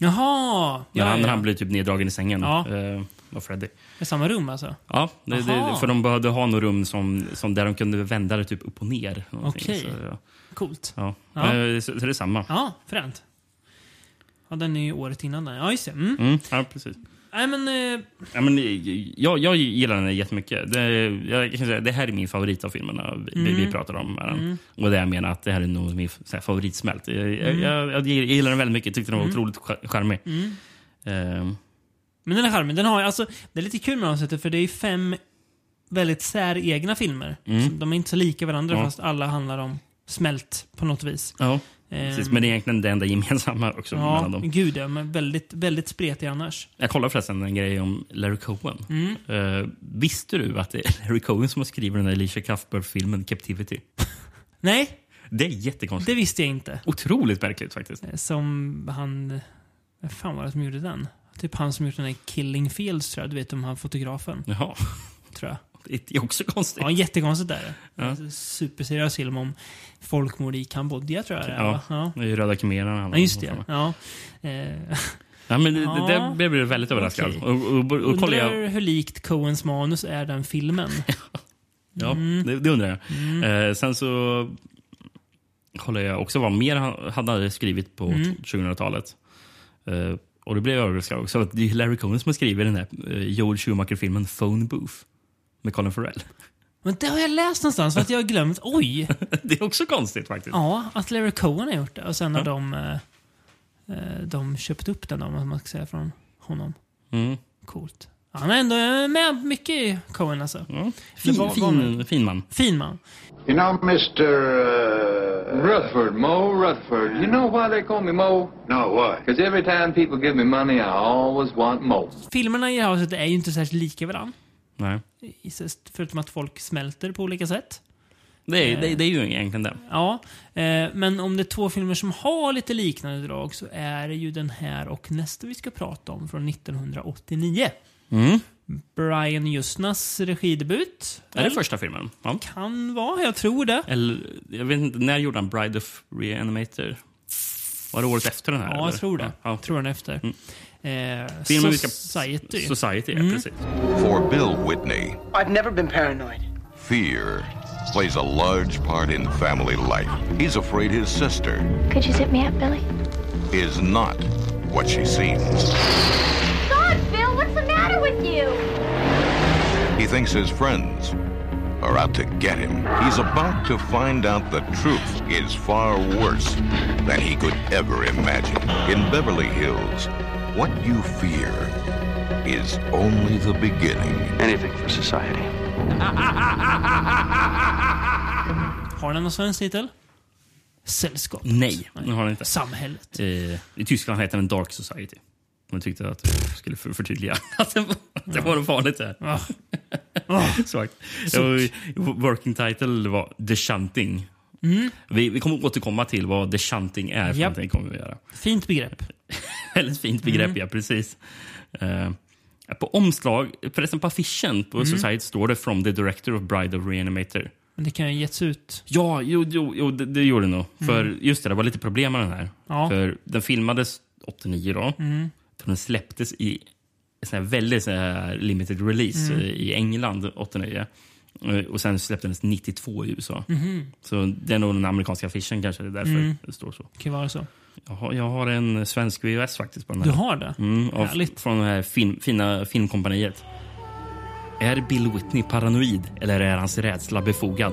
Speaker 1: Jaha!
Speaker 2: När
Speaker 1: Ja,
Speaker 2: han,
Speaker 1: ja,
Speaker 2: han blir typ neddragen i sängen
Speaker 1: Ja.
Speaker 2: eh, av Freddy.
Speaker 1: I samma rum alltså?
Speaker 2: Ja, det, det,
Speaker 1: Aha.
Speaker 2: för de behövde ha något rum som, som där de kunde vända det typ upp och ner. någonting.
Speaker 1: Okej.
Speaker 2: Så, ja.
Speaker 1: Coolt.
Speaker 2: Ja.
Speaker 1: Ja.
Speaker 2: Eh, Så, så det är samma.
Speaker 1: Ja, fränt. Ja, den är ju året innan den. Ja, just det. Mm.
Speaker 2: Mm, ja, precis.
Speaker 1: Nej, men... Eh,
Speaker 2: Ja, men, jag, jag gillar den jättemycket. Det, jag kan säga, det här är min favorit av filmerna vi,
Speaker 1: Mm.
Speaker 2: vi pratar om. här. Och det jag menar att det här är nog min så här, favoritsmält. Jag,
Speaker 1: Mm.
Speaker 2: jag, jag, jag gillar den väldigt mycket. Tyckte den var otroligt char- charmig. Ehm,
Speaker 1: men den är charmig. Den har, alltså, det är lite kul med avsnittet för det är ju fem väldigt säregna filmer. Så De är inte så lika varandra
Speaker 2: Mm. Ja.
Speaker 1: fast alla handlar om smält på något vis.
Speaker 2: ja, precis.
Speaker 1: Ehm,
Speaker 2: Men det är egentligen det enda gemensamma också mellan
Speaker 1: Ja,
Speaker 2: dem.
Speaker 1: gud ja, men väldigt, väldigt spretig annars.
Speaker 2: Jag kollade förresten en grej om Larry Cohen.
Speaker 1: Mm.
Speaker 2: Eh, visste du att det är Larry Cohen som har skrivit den där Alicia Cuthbert-filmen Captivity?
Speaker 1: Nej,
Speaker 2: Det är jättekonstigt.
Speaker 1: det visste jag inte.
Speaker 2: Otroligt märkligt faktiskt.
Speaker 1: Eh, Som han... Vem fan var det som gjorde den? Typ han som gjort den där Killing Fields tror jag. Du vet om han fotografen,
Speaker 2: Jaha,
Speaker 1: tror jag.
Speaker 2: det är också konstigt.
Speaker 1: Ja, jättekonstigt där.
Speaker 2: Ja.
Speaker 1: Superseriös film om folkmord i Kambodja tror jag det är.
Speaker 2: Ja,
Speaker 1: va? ja.
Speaker 2: det är ju Röda Khmererna.
Speaker 1: ja, just det. Ja. Eh,
Speaker 2: Ja, men det,
Speaker 1: Ja.
Speaker 2: det, det blev jag väldigt överraskad.
Speaker 1: Okej.
Speaker 2: Och, och, och, och kollar jag,
Speaker 1: undrar hur likt Coens manus är den filmen.
Speaker 2: ja,
Speaker 1: Mm.
Speaker 2: det, det undrar jag. Eh, sen så kollade jag också vad mer han han hade skrivit på
Speaker 1: Mm.
Speaker 2: 2000-talet. Eh, och det blev jag överraskad också. Att det är Larry Cohen som har skrivit den här eh, Joel Schumacher-filmen Phone Booth med Colin Farrell.
Speaker 1: Men det har jag läst någonstans för att jag har glömt. Oj!
Speaker 2: det är också konstigt faktiskt.
Speaker 1: Ja, att Larry Cohen har gjort det. Och sen har de, eh, eh, de köpt upp den, om man ska säga, från honom.
Speaker 2: Mm.
Speaker 1: Coolt. Han är ändå eh, med mycket i Cohen alltså.
Speaker 2: Fin,
Speaker 1: Det var-
Speaker 2: fin, fin man.
Speaker 1: Fin man.
Speaker 3: You know, Mr. Uh,
Speaker 10: Rutherford, Mo, Rutherford. You know why they call me Mo?
Speaker 3: No, what?
Speaker 10: Because every time people give me money, I always want Mo.
Speaker 1: Filmerna i det här avsnittet är ju inte särskilt lika varandra.
Speaker 2: Nej.
Speaker 1: Förutom att folk smälter på olika sätt.
Speaker 2: Det, är, det, det är ju egentligen det.
Speaker 1: Ja, eh, men om det är två filmer som har lite liknande drag så är det ju den här och nästa vi ska prata om från 1989.
Speaker 2: Mm.
Speaker 1: Brian Justnas regidebut.
Speaker 2: Är det första filmen? Ja.
Speaker 1: Kan vara, jag tror det.
Speaker 2: Eller, jag vet inte, när gjorde han Bride of Reanimator? Var det året efter den här?
Speaker 1: Ja,
Speaker 2: eller?
Speaker 1: jag tror det.
Speaker 2: Ja, ja.
Speaker 1: Tror den efter. Eh,
Speaker 2: Filmen vi ska-
Speaker 1: Society. Mm.
Speaker 2: Society, ja, precis.
Speaker 4: For Bill Whitney,
Speaker 6: I've never been paranoid.
Speaker 4: fear plays a large part in family life. He's afraid his sister
Speaker 8: Could you zip me up, Billy?
Speaker 4: is not what she seems.
Speaker 8: God, Bill, what's the matter with you?
Speaker 4: He thinks his friends are out to get him. He's about to find out the truth is far worse than he could ever imagine. In Beverly Hills, what you fear is only the beginning.
Speaker 5: Anything for society.
Speaker 1: Har den någon svensk titel? Sällskap.
Speaker 2: Nej, det har den inte.
Speaker 1: Samhället.
Speaker 2: Eh, I Tyskland heter den Dark Society. Man tyckte att vi skulle för- förtydliga att det var, att det var något farligt där.
Speaker 1: Ah. Ah.
Speaker 2: Exakt. Working title var The Shunting. Vi, vi kommer återkomma till vad The Shunting är. för
Speaker 1: Mm. Japp.
Speaker 2: någonting Kommer vi göra.
Speaker 1: Fint begrepp.
Speaker 2: Väldigt fint begrepp, ja. Precis. Eh, på omslag, förresten på affischen på Society står det From the Director of Bride of Reanimator.
Speaker 1: Men det kan ju ha getts ut.
Speaker 2: Ja, jo, jo, jo det, det gjorde det nog. För just det, det var lite problem med den här.
Speaker 1: Ja.
Speaker 2: För den filmades 89 då. Så Den släpptes i sån här väldigt sån här limited release eh, i England 89. Eh, Och sen släpptes den 92 i USA. Så det är nog den amerikanska affischen kanske, det är därför det står så.
Speaker 1: Det kan ju vara så.
Speaker 2: Jag har, jag har en svensk VHS faktiskt på den
Speaker 1: Du
Speaker 2: här.
Speaker 1: har det?
Speaker 2: Mm, av,
Speaker 1: Härligt.
Speaker 2: från det här film, fina filmkompaniet. Är Bill Whitney paranoid eller är hans rädsla befogad?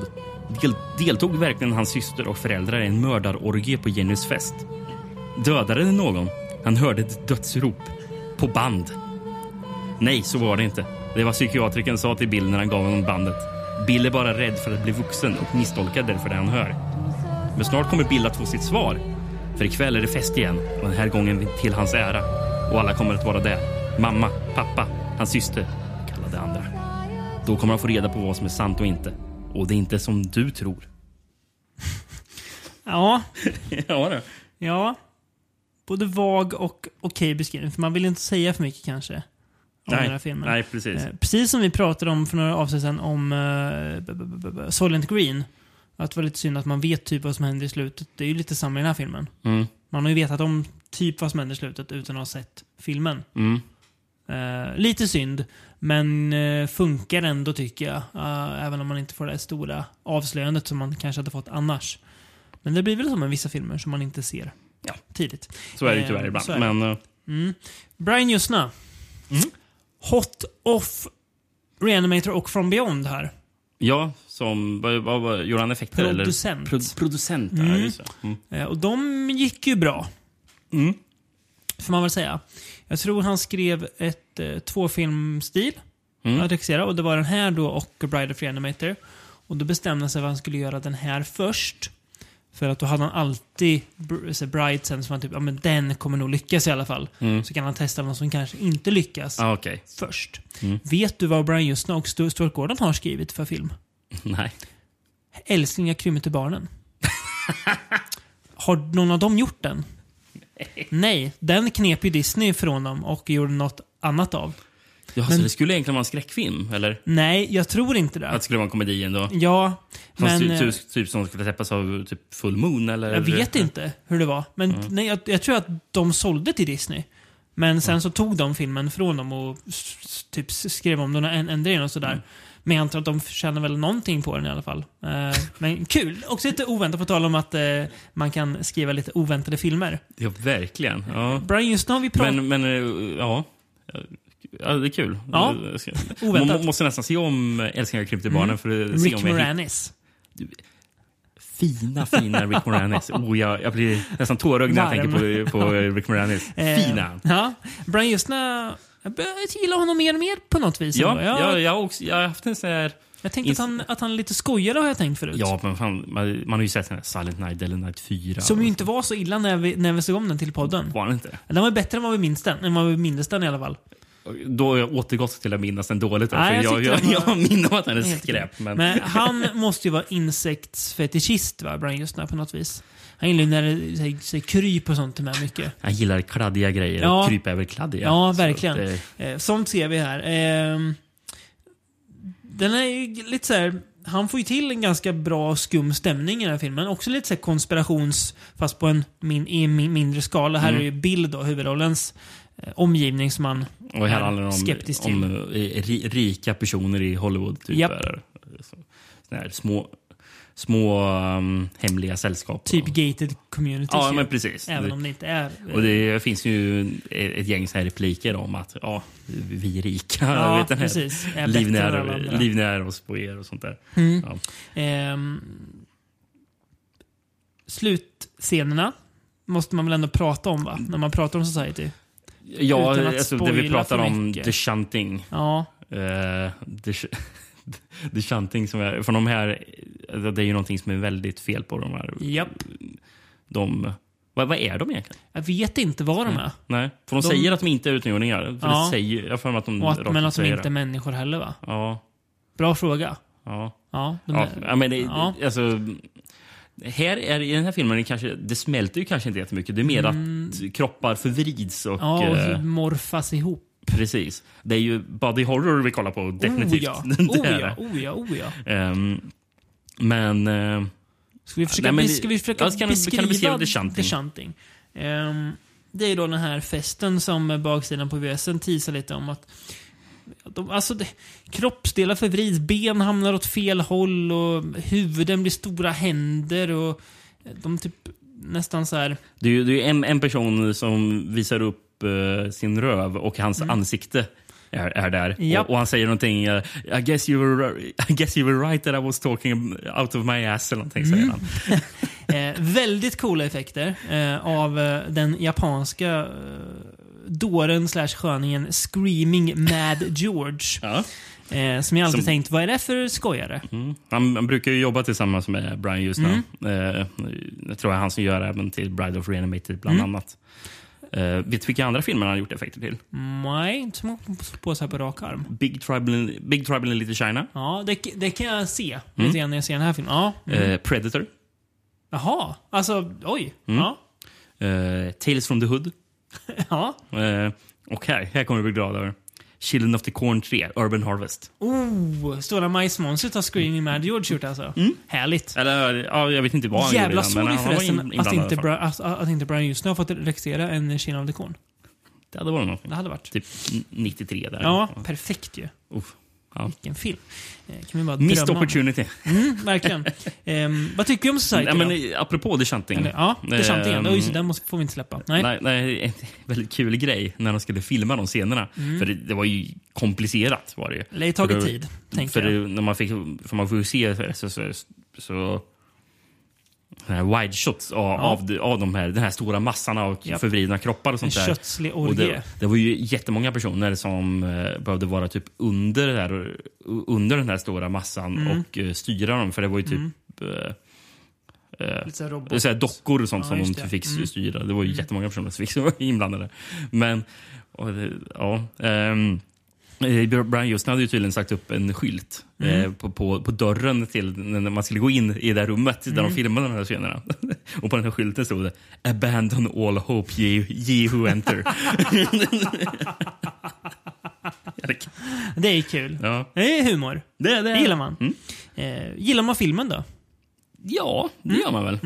Speaker 2: Del, deltog verkligen hans syster och föräldrar i en mördarorgie på Jennys fest? Dödade det någon? Han hörde ett dödsrop. På band. Nej, så var det inte. Det var psykiatriken sa till Bill när han gav honom bandet. Bill är bara rädd för att bli vuxen och misstolkar därför det han hör. Men snart kommer Bill att få sitt svar. För ikväll är det fest igen och den här gången till hans ära. Och alla kommer att vara där. Mamma, pappa, hans syster och alla de andra. Då kommer han få reda på vad som är sant och inte. Och det är inte som du tror.
Speaker 1: Ja.
Speaker 2: ja, det.
Speaker 1: Ja. Både vag och okej beskrivning. För man vill inte säga för mycket kanske. Om den här
Speaker 2: Nej,
Speaker 1: filmen.
Speaker 2: nej, precis.
Speaker 1: Eh, Precis som vi pratade om för några avsnitt sedan om eh, b- b- b- b- Soylent Green. Att det var lite synd att man vet typ vad som händer i slutet. Det är ju lite samma i den här filmen.
Speaker 2: Mm.
Speaker 1: Man har ju vetat om typ vad som händer i slutet utan att ha sett filmen.
Speaker 2: Mm.
Speaker 1: Eh, lite synd, men eh, funkar ändå tycker jag. Eh, även om man inte får det här stora avslöjandet som man kanske hade fått annars. Men det blir väl som med vissa filmer som man inte ser. ja, tidigt.
Speaker 2: Så är det ju
Speaker 1: Eh,
Speaker 2: tyvärr ibland.
Speaker 1: så är det.
Speaker 2: Men eh,
Speaker 1: Brian Jusna. Hot off Reanimator och From Beyond här.
Speaker 2: ja, som... Vad, vad, vad, gjorde han effekter?
Speaker 1: Producent.
Speaker 2: Eller? Pro, producent, ja. Just det. Mm.
Speaker 1: Eh, Och de gick ju bra.
Speaker 2: Mm.
Speaker 1: Får man väl säga. Jag tror han skrev ett eh, tvåfilmstil att regissera. Och det var den här då och Bride of Reanimator. Och då bestämde han sig för att han skulle göra den här först. För att då hade han alltid Br- så Bride sen som han typ, ja men den kommer nog lyckas i alla fall. Så kan han testa någon som kanske inte lyckas
Speaker 2: Ah, Okej.
Speaker 1: först.
Speaker 2: Mm.
Speaker 1: Vet du vad Brian Justna och Stu- Stuart Gordon har skrivit för film?
Speaker 2: Nej.
Speaker 1: Älskling, jag krymmer till barnen. Har någon av dem gjort den? Nej. Den knep ju Disney från dem och gjorde något annat av.
Speaker 2: Ja, så det skulle egentligen vara en skräckfilm, eller?
Speaker 1: Nej, jag tror inte det.
Speaker 2: Att det skulle vara en komedi ändå?
Speaker 1: Ja, men...
Speaker 2: Fast typ-
Speaker 1: eh,
Speaker 2: typ, typ som skulle täppas av typ full moon, eller? Mm.
Speaker 1: Jag vet inte hur det var. Men nej, jag, jag tror att de sålde till Disney. Men
Speaker 2: Mm.
Speaker 1: sen så tog de filmen från dem och s- s- typ s- skrev om den och än- ändrade den och
Speaker 2: Mm.
Speaker 1: sådär. Men jag antar att de tjänar väl någonting på den i alla fall. Eh, men kul! Också lite oväntat, på tal om att eh, man kan skriva lite oväntade filmer.
Speaker 2: Ja, verkligen. Ja.
Speaker 1: Brian Houston har vi pratat
Speaker 2: Men, men eh, ja. ja. Det är kul.
Speaker 1: Ja,
Speaker 2: Jag ska-
Speaker 1: oväntat. Mm.
Speaker 2: Man må- måste nästan se om Älsklingar och krympte barnen för att se
Speaker 1: Rick
Speaker 2: om jag hittar
Speaker 1: Moranis.
Speaker 2: fina, fina Rick Moranis. Oh, jag, jag blir nästan tårögd när jag
Speaker 1: Varm.
Speaker 2: tänker på, på Rick Moranis.
Speaker 1: Eh,
Speaker 2: Fina!
Speaker 1: Ja. Brian Justna, jag börjar gilla honom mer och mer på något vis.
Speaker 2: Ja,
Speaker 1: ändå. jag,
Speaker 2: jag, jag, har också, jag har haft en sån här...
Speaker 1: jag tänkte att han, att han lite skojade har jag tänkt förut.
Speaker 2: Ja, men fan, man, man har ju sett den här Silent Night eller Night 4.
Speaker 1: Som ju inte var så illa när vi, när vi såg om den till podden.
Speaker 2: Var den inte?
Speaker 1: Den var ju bättre än vad vi minns den, än vad vi minns den i alla fall.
Speaker 2: Då har jag återgått till att minnas den dåligt. då,
Speaker 1: Nej,
Speaker 2: för
Speaker 1: jag
Speaker 2: jag,
Speaker 1: tyckte
Speaker 2: jag,
Speaker 1: den
Speaker 2: jag,
Speaker 1: var-
Speaker 2: minns att den är
Speaker 1: Helt
Speaker 2: skräp.
Speaker 1: okej.
Speaker 2: Men,
Speaker 1: Men han måste ju vara insektsfetischist, va? Brian Justna, på något vis. Han gillar ju när det säger- säger kryp och sånt med mycket.
Speaker 2: han gillar kladdiga grejer
Speaker 1: Ja.
Speaker 2: och krypa över kladdiga.
Speaker 1: Ja,
Speaker 2: Så
Speaker 1: verkligen.
Speaker 2: att, eh,
Speaker 1: Eh, Sånt ser vi här. Ehm, Den är ju lite så här... Han får ju till en ganska bra skum stämning i den här filmen. Också lite så här konspirations... Fast på en min, i en min, mindre skala.
Speaker 2: Mm.
Speaker 1: Här är ju Bill då, huvudrollens eh, omgivning som han
Speaker 2: Och här
Speaker 1: är
Speaker 2: handlar det
Speaker 1: skeptisk
Speaker 2: om,
Speaker 1: till.
Speaker 2: om eh, ri, rika personer i Hollywood. Typ,
Speaker 1: Japp.
Speaker 2: där, så, såna här små, små um, hemliga sällskap.
Speaker 1: typ gated typ. communities.
Speaker 2: Ja,
Speaker 1: ju.
Speaker 2: men precis.
Speaker 1: Även
Speaker 2: Det-
Speaker 1: om det inte är...
Speaker 2: Och det finns ju ett gäng så här repliker om att ja, vi är rika.
Speaker 1: Ja,
Speaker 2: vet den här,
Speaker 1: precis. Är bättre än alla andra. Mm.
Speaker 2: livnär, livnär oss på er och sånt där. Ja.
Speaker 1: Ehm, slutscenerna måste man väl ändå prata om, va? När man pratar om Society. Utan
Speaker 2: Ja,
Speaker 1: att
Speaker 2: alltså, det vi
Speaker 1: spoila
Speaker 2: pratar
Speaker 1: för
Speaker 2: om,
Speaker 1: mycket.
Speaker 2: The Shunting.
Speaker 1: Ja.
Speaker 2: Eh, the, sh- the Shunting som är, för de här, det är ju någonting som är väldigt fel på de här.
Speaker 1: Japp.
Speaker 2: De, vad, vad är de egentligen?
Speaker 1: Jag vet inte vad
Speaker 2: Mm.
Speaker 1: de är.
Speaker 2: Nej, för de,
Speaker 1: De-
Speaker 2: säger att de inte är utomjordingar. För
Speaker 1: Ja.
Speaker 2: det säger, jag har för mig att de
Speaker 1: Och
Speaker 2: rakt
Speaker 1: att, men
Speaker 2: ut
Speaker 1: att de
Speaker 2: säger
Speaker 1: inte är
Speaker 2: det.
Speaker 1: människor heller, va?
Speaker 2: Ja,
Speaker 1: Bra fråga.
Speaker 2: ja.
Speaker 1: Ja, de
Speaker 2: Ja,
Speaker 1: är,
Speaker 2: ja, men det,
Speaker 1: ja.
Speaker 2: Alltså, här är, I den här filmen är det kanske, det smälter ju kanske inte jättemycket. Det är mer att kroppar förvrids. Och,
Speaker 1: Mm. ja, alltså- och
Speaker 2: eh,
Speaker 1: hur morfas ihop.
Speaker 2: precis. Det är ju body horror vi kollar på,
Speaker 1: Oh
Speaker 2: definitivt.
Speaker 1: ja.
Speaker 2: Det
Speaker 1: Oh
Speaker 2: är
Speaker 1: ja,
Speaker 2: det.
Speaker 1: oh ja, oh ja.
Speaker 2: Ehm, men... eh,
Speaker 1: Ska vi försöka,
Speaker 2: Nej, men det-
Speaker 1: ska vi försöka
Speaker 2: ja, ska ni-
Speaker 1: beskriva
Speaker 2: kan du beskriva The Shunting?
Speaker 1: Shunting? Ehm, det är då den här festen som baksidan på VSN teasar lite om att de, alltså det, kroppsdelar förvrids, ben hamnar åt fel håll och huvuden blir stora händer och de typ nästan så här...
Speaker 2: Det är ju det är ju en, en person som visar upp eh, sin röv och hans ansikte är, är där.
Speaker 1: Mm. Japp.
Speaker 2: Och, och han säger någonting, eh, I, guess you were, I guess you were right that I was talking out of my ass eller någonting
Speaker 1: Mm.
Speaker 2: säger han.
Speaker 1: Eh, väldigt coola effekter eh, av eh, den japanska eh, dåren slash sköningen Screaming Mad George.
Speaker 2: Ja.
Speaker 1: Eh, som jag alltid
Speaker 2: Som-
Speaker 1: tänkt, vad är det för skojare?
Speaker 2: Han, han brukar ju jobba tillsammans med Brian just nu.
Speaker 1: Mm.
Speaker 2: Eh, jag tror jag han som gör även till Bride of Reanimated bland
Speaker 1: Mm.
Speaker 2: annat. Eh, vet du vilka andra filmer han har gjort effekter till?
Speaker 1: Mm. Nej, inte som jag kom på så här på rak arm.
Speaker 2: Big Trouble in, Big Trouble in Little China,
Speaker 1: Ja, det, det kan jag
Speaker 2: Mm.
Speaker 1: se lite grann när jag ser den här filmen. Ja.
Speaker 2: eh, Predator,
Speaker 1: Jaha, alltså oj.
Speaker 2: Mm.
Speaker 1: Ja.
Speaker 2: eh, Tales from the Hood.
Speaker 1: ja.
Speaker 2: Eh, och här, här kommer du bli glad över. Children of the Corn 3, Urban Harvest.
Speaker 1: Oh, Stora majsmonstret har Screaming Mad George gjort alltså. Härligt.
Speaker 2: Eller, Mm. ja, jag vet inte vad han
Speaker 1: Jävla
Speaker 2: gjorde innan,
Speaker 1: sorg
Speaker 2: men han var in-
Speaker 1: förresten att
Speaker 2: inblandad i alla
Speaker 1: inte,
Speaker 2: fall.
Speaker 1: Bra, att, att inte Brian Houston har fått regissera en Kina of the Corn.
Speaker 2: Det hade varit någonting.
Speaker 1: Det hade varit.
Speaker 2: Typ 93 där.
Speaker 1: Ja, perfekt ju.
Speaker 2: Uff. Ja.
Speaker 1: Vilken film. Eh, Kan vi bara
Speaker 2: Missed
Speaker 1: drömma om.
Speaker 2: opportunity.
Speaker 1: Mm, verkligen. Ehm, vad tycker vi om Society?
Speaker 2: Ja,
Speaker 1: då?
Speaker 2: men, eh, apropå The Shunting.
Speaker 1: Eller, ja, det är sant igen.
Speaker 2: Ehm,
Speaker 1: Oj, så den måste, får vi inte släppa. Nej.
Speaker 2: Nej, nej, en väldigt kul grej när de skulle filma de scenerna.
Speaker 1: Mm.
Speaker 2: För det, det var ju komplicerat. Var det. ju.
Speaker 1: Eller det har tagit
Speaker 2: För det-
Speaker 1: tid, tänker
Speaker 2: för
Speaker 1: jag.
Speaker 2: det- När man fick, för man får ju se så, så, så, så här wide shots av, av, de- av de här, den här stora massan av
Speaker 1: Japp.
Speaker 2: förvridna kroppar och sånt
Speaker 1: En
Speaker 2: där.
Speaker 1: köttslig
Speaker 2: Och
Speaker 1: orgie.
Speaker 2: det, det var ju jättemånga personer som eh, behövde vara typ under, det här, under den här stora massan
Speaker 1: Mm.
Speaker 2: och eh, styra dem. För det var ju typ eh,
Speaker 1: Lite så här robot.
Speaker 2: det är så här dockor och sånt
Speaker 1: Ja,
Speaker 2: som
Speaker 1: just det.
Speaker 2: de
Speaker 1: Mm.
Speaker 2: fick styra. Det var ju jättemånga personer som fick vara inblandade. Men, och det, ja. ehm, eh, Brian Justin hade ju tydligen sagt upp en skylt eh,
Speaker 1: Mm.
Speaker 2: på, på, på dörren till när man skulle gå in i det här rummet där
Speaker 1: Mm.
Speaker 2: de filmade de här scenerna. och på den här skylten stod det “Abandon all hope ye, ye who enter”.
Speaker 1: Det är kul.
Speaker 2: ja.
Speaker 1: Det är humor.
Speaker 2: Det, Mm.
Speaker 1: Det gillar man. Eh, gillar man filmen då?
Speaker 2: Ja, det
Speaker 1: mm.
Speaker 2: gör man väl.